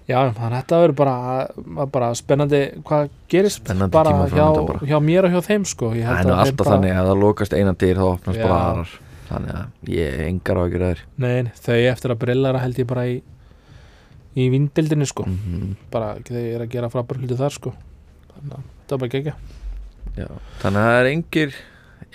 S1: Já, já, þannig að þetta verður bara, bara spennandi hvað gerist
S2: Spennandi
S1: bara,
S2: tímar
S1: hjá,
S2: framundan bara.
S1: hjá mér og hjá þeim sko Ég held
S2: Það er nú
S1: að þeim
S2: alltaf
S1: bara,
S2: þannig að það lokast einan dyr þá opnast
S1: Já.
S2: bara aðrar Þannig að ég er engar á ekki ræður
S1: Nei, nei, þau eftir að brillara held ég bara í í vindildinni sko
S2: mm -hmm.
S1: bara þau eru að gera frábær hluti þar sko þannig að þetta var bara gegja
S2: Þannig að það er engir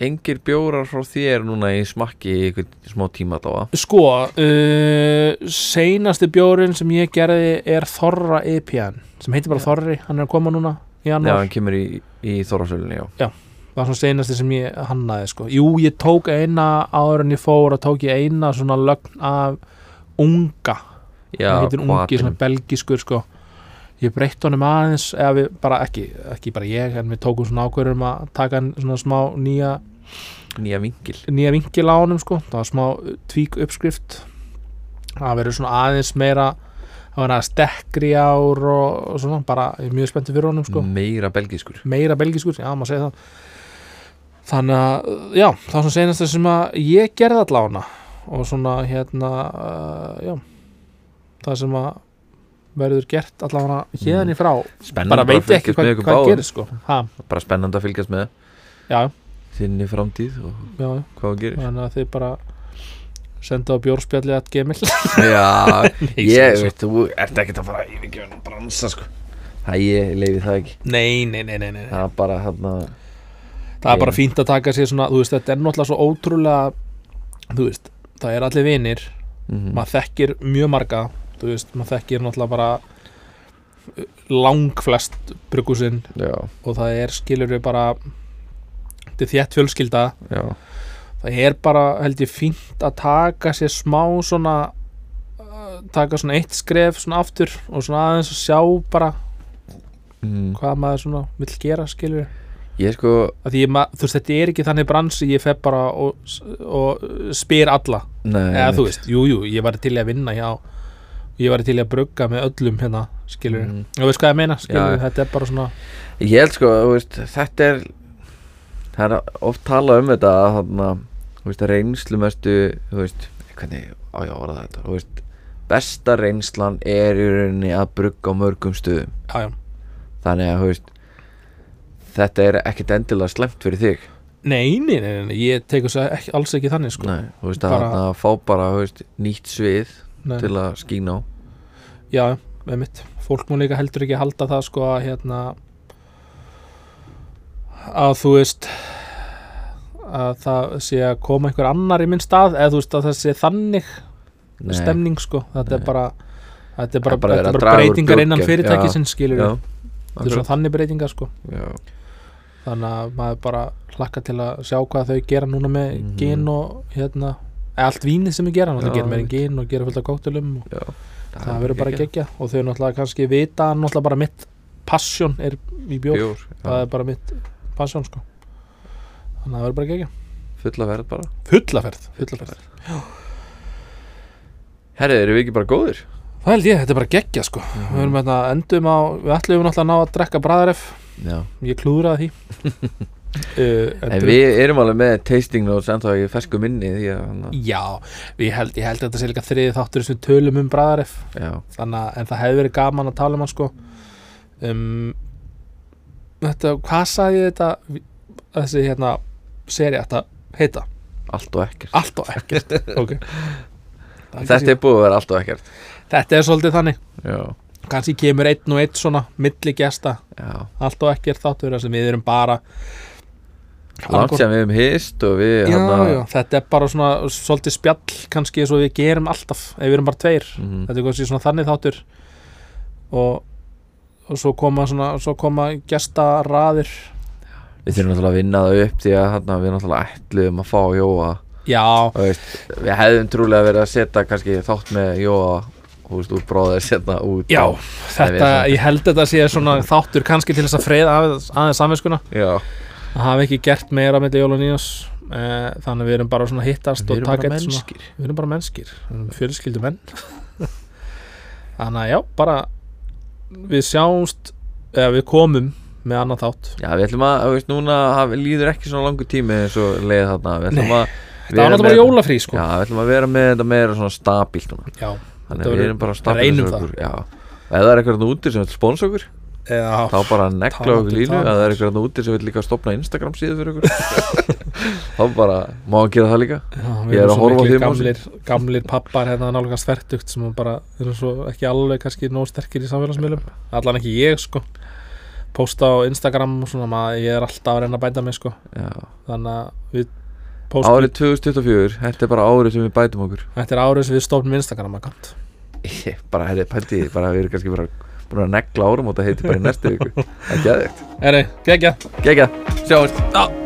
S2: engir bjórar frá þér núna í smakki í einhvern smá tíma þá að
S1: Sko, uh, seinasti bjórin sem ég gerði er Þorra EPN sem heitir bara Þorri, hann er að koma núna í
S2: Já,
S1: janúar
S2: hann kemur í, í Þorásölunni, já
S1: það var svona seinasti sem ég hannaði sko. jú, ég tók eina áður en ég fór og tók ég eina svona lögn af unga
S2: Já,
S1: hann heitir ungi,
S2: hvatinum.
S1: svona belgiskur sko. ég breytti honum aðeins eða við bara ekki, ekki bara ég en við tókum svona ákvörðum að taka hann svona smá nýja,
S2: Nýja vingil
S1: nýja vingil á honum sko. það var smá tvík uppskrift það verður svona aðeins meira það verður aðeins dekkri ár og, og svona, bara ég er mjög spenntið fyrir honum sko
S2: Meira belgiskur
S1: meira belgiskur, já maður segir það þannig að uh, já, það var svona senast sem að ég gerði allána og svona hérna uh, já það sem að verður gert allána hérna í frá
S2: Spennandi
S1: bara
S2: að
S1: veit ekki
S2: fylgjast
S1: hvað,
S2: með ykkur
S1: hvað
S2: báðum.
S1: gerir sko ha,
S2: Bara spennandi að fylgjast með
S1: já,
S2: þinni framtíð og
S1: já, já,
S2: hvað það gerir
S1: þannig að þið bara senda á bjórspjalli að gemil
S2: Já,
S1: segi
S2: ég veit, þú ert ekkert að fara í vikjöfnum bransa sko Það ég leiði það ekki Ah,
S1: nei, nei, nei, nei, nei.
S2: Það er bara hérna
S1: það er bara fínt að taka sér svona þú veist, þetta er náttúrulega svo ótrúlega þú veist, það er allir vinir
S2: Mhm.
S1: maður þekkir mjög marga þú veist, maður þekkir náttúrulega bara uh, langflest brugusinn
S2: já,
S1: og það er skilur við bara þetta er þétt fjölskylda
S2: já,
S1: það er bara held ég fínt að taka sér smá svona uh, taka svona eitt skref svona aftur og svona aðeins að sjá bara
S2: mm.
S1: hvað maður svona vill gera skilur
S2: ég sko
S1: að því ég, ma- þú veist þetta er ekki þannig bransi ég fer bara og, og spyr alla
S2: nei,
S1: eða þú
S2: einmitt.
S1: veist, jú jú, ég var til í að vinna já, ég var til í að brugga með öllum hérna skilur,
S2: Mm.
S1: og veist hvað ég meina skilur,
S2: Já.
S1: þetta er bara svona
S2: Ég held sko, þú veist, þetta er það er oft talað um þetta að þarna, þú veist, reynslumestu þú veist, hvernig á ég að orða þetta þú veist, besta reynslan er í rauninni að brugga á mörgum stöðum
S1: já, já.
S2: þannig að, þú veist þetta er ekkit endilega slemmt fyrir þig
S1: Nei, nei, nei, nei, ég tek þess að ekki, alls ekki þannig sko
S2: Nei, þú veist, að
S1: Bara-
S2: bara... að fá bara, þú veist, nýtt svið
S1: Nei.
S2: til að skína á
S1: Já, með mitt Fólk mú líka heldur ekki halda það sko að hérna að þú veist að það sé að koma einhver annar í minn stað eða þú veist að það sé þannig
S2: Nei.
S1: stemning sko þetta er
S2: Nei.
S1: bara þetta er
S2: Það
S1: bara,
S2: er bara verið
S1: þetta
S2: að
S1: er bara
S2: draga úr
S1: breytingar
S2: glugga.
S1: innan fyrirtækisins skilur
S2: Já,
S1: við, þetta er svona þannig breytingar sko
S2: já,
S1: þannig að maður bara hlakka til að sjá hvað þau gera núna með mm
S2: Mhm.
S1: gin og hérna eða allt vínið sem við gera,
S2: Já,
S1: náttúrulega gera meira en
S2: einmitt.
S1: gin og gera fullt af kóktelum og
S2: já
S1: það verður bara gegja og þau náttúrulega kannski vita að náttúrulega bara mitt passion er í bjór,
S2: bjór,
S1: það
S2: já,
S1: er bara mitt passion sko þannig að það verður bara gegja
S2: fulla verð bara
S1: fullaferð, fullaferð
S2: Herri, erum við ekki bara góðir?
S1: það held ég, þetta er bara gegja sko
S2: Mhm.
S1: við erum hérna endum á, við ætlum náttúrulega að ná að drekka bræðaref,
S2: Já
S1: ég klúðraði því uh,
S2: En við erum alveg með tasting notes ennþá í fersku minni því að hann að-
S1: já, við held, ég held að þetta sé líka þriði þáttur sem við tölum um bræðaref
S2: Já,
S1: þannig að en það hefði verið gaman að tala um hann sko um, þetta, hvað sagði þetta þessi hérna seri ætti að heita,
S2: allt og ekkert
S1: allt og ekkert ok Það er
S2: Þetta
S1: kannski-
S2: er búið að vera allt og ekkert
S1: þetta er svolítið þannig,
S2: Já,
S1: kannski kemur einn og einn svona milli gesta,
S2: já
S1: allt og ekkert þáttur þar sem við erum bara
S2: Langt sem við hefum hist og við
S1: já,
S2: hann að-
S1: já, þetta er bara svona svolítið spjall kannski eins og við gerum alltaf ef við erum bara tveir
S2: Mhm.
S1: þetta er kannski svona þannig þáttur og, og svo koma svona, svo koma gestaraðir
S2: Við þurfum náttúrulega að vinna það upp því að hann, að við náttúrulega ætluðum að fá Jóa
S1: já,
S2: og veist, Við hefðum trúlega verið að setja kannski þátt með Jóa Þú veist, úr bróðir setna út
S1: já
S2: og-
S1: þetta,
S2: það er
S1: ég held þetta sé svona þáttur kannski til þess að freyða aðeins, aðeins samvinskuna
S2: Já,
S1: að hafa ekki gert meira milli jól og nýjós eh, þannig að við erum bara svona að hittast
S2: við
S1: og
S2: erum
S1: taka
S2: bara
S1: eitt svona
S2: mennskir
S1: við erum bara mennskir, við erum fjölskyldu menn þannig að já, bara við sjáumst eða við komum með annan þátt
S2: Já, við ætlum að, þú veist, núna hafi- líður ekki svona langur tími eins og leið þarna Við ætlum að
S1: það var náttúrulega bara jólafrí sko
S2: Já, við ætlum að vera með þetta meira svona stabílt núna
S1: já,
S2: Þannig
S1: Þetta
S2: að við
S1: verður-
S2: erum bara að
S1: það er einum
S2: stabilisa okkur Já, og ef það er eitthvað þarna úti sem vil sponsa okkur þá
S1: já.
S2: bara negla
S1: talandi
S2: okkur línu
S1: um
S2: ef
S1: það.
S2: það er eitthvað þarna úti sem vil líka stopna Instagram síðu fyrir okkur þá bara má hann gera það líka
S1: Já, við
S2: Ég er
S1: erum
S2: að
S1: svo
S2: horfa á
S1: miklir
S2: þig, Mási.
S1: gamlir, gamlir pappar hérna nálgast verdugt sem bara eru svo ekki alveg kannski nóg sterkir í samfélagsmiðlum allan ekki ég sko posta á Instagram og svona maður ég er alltaf að reyna að bæta mig sko
S2: Já.
S1: þannig að við postum
S2: Árið 2024, þetta er bara árið sem við bætum okkur
S1: þetta er árið sem við stofnum Instagram account
S2: Ég bara, herri, pældi því, bara við erum kannski bara búin að negla árum og þetta heiti bara í næstu ykkur Það er geðvegt
S1: Eri, geggjað
S2: Gekja, sjáumst
S1: Já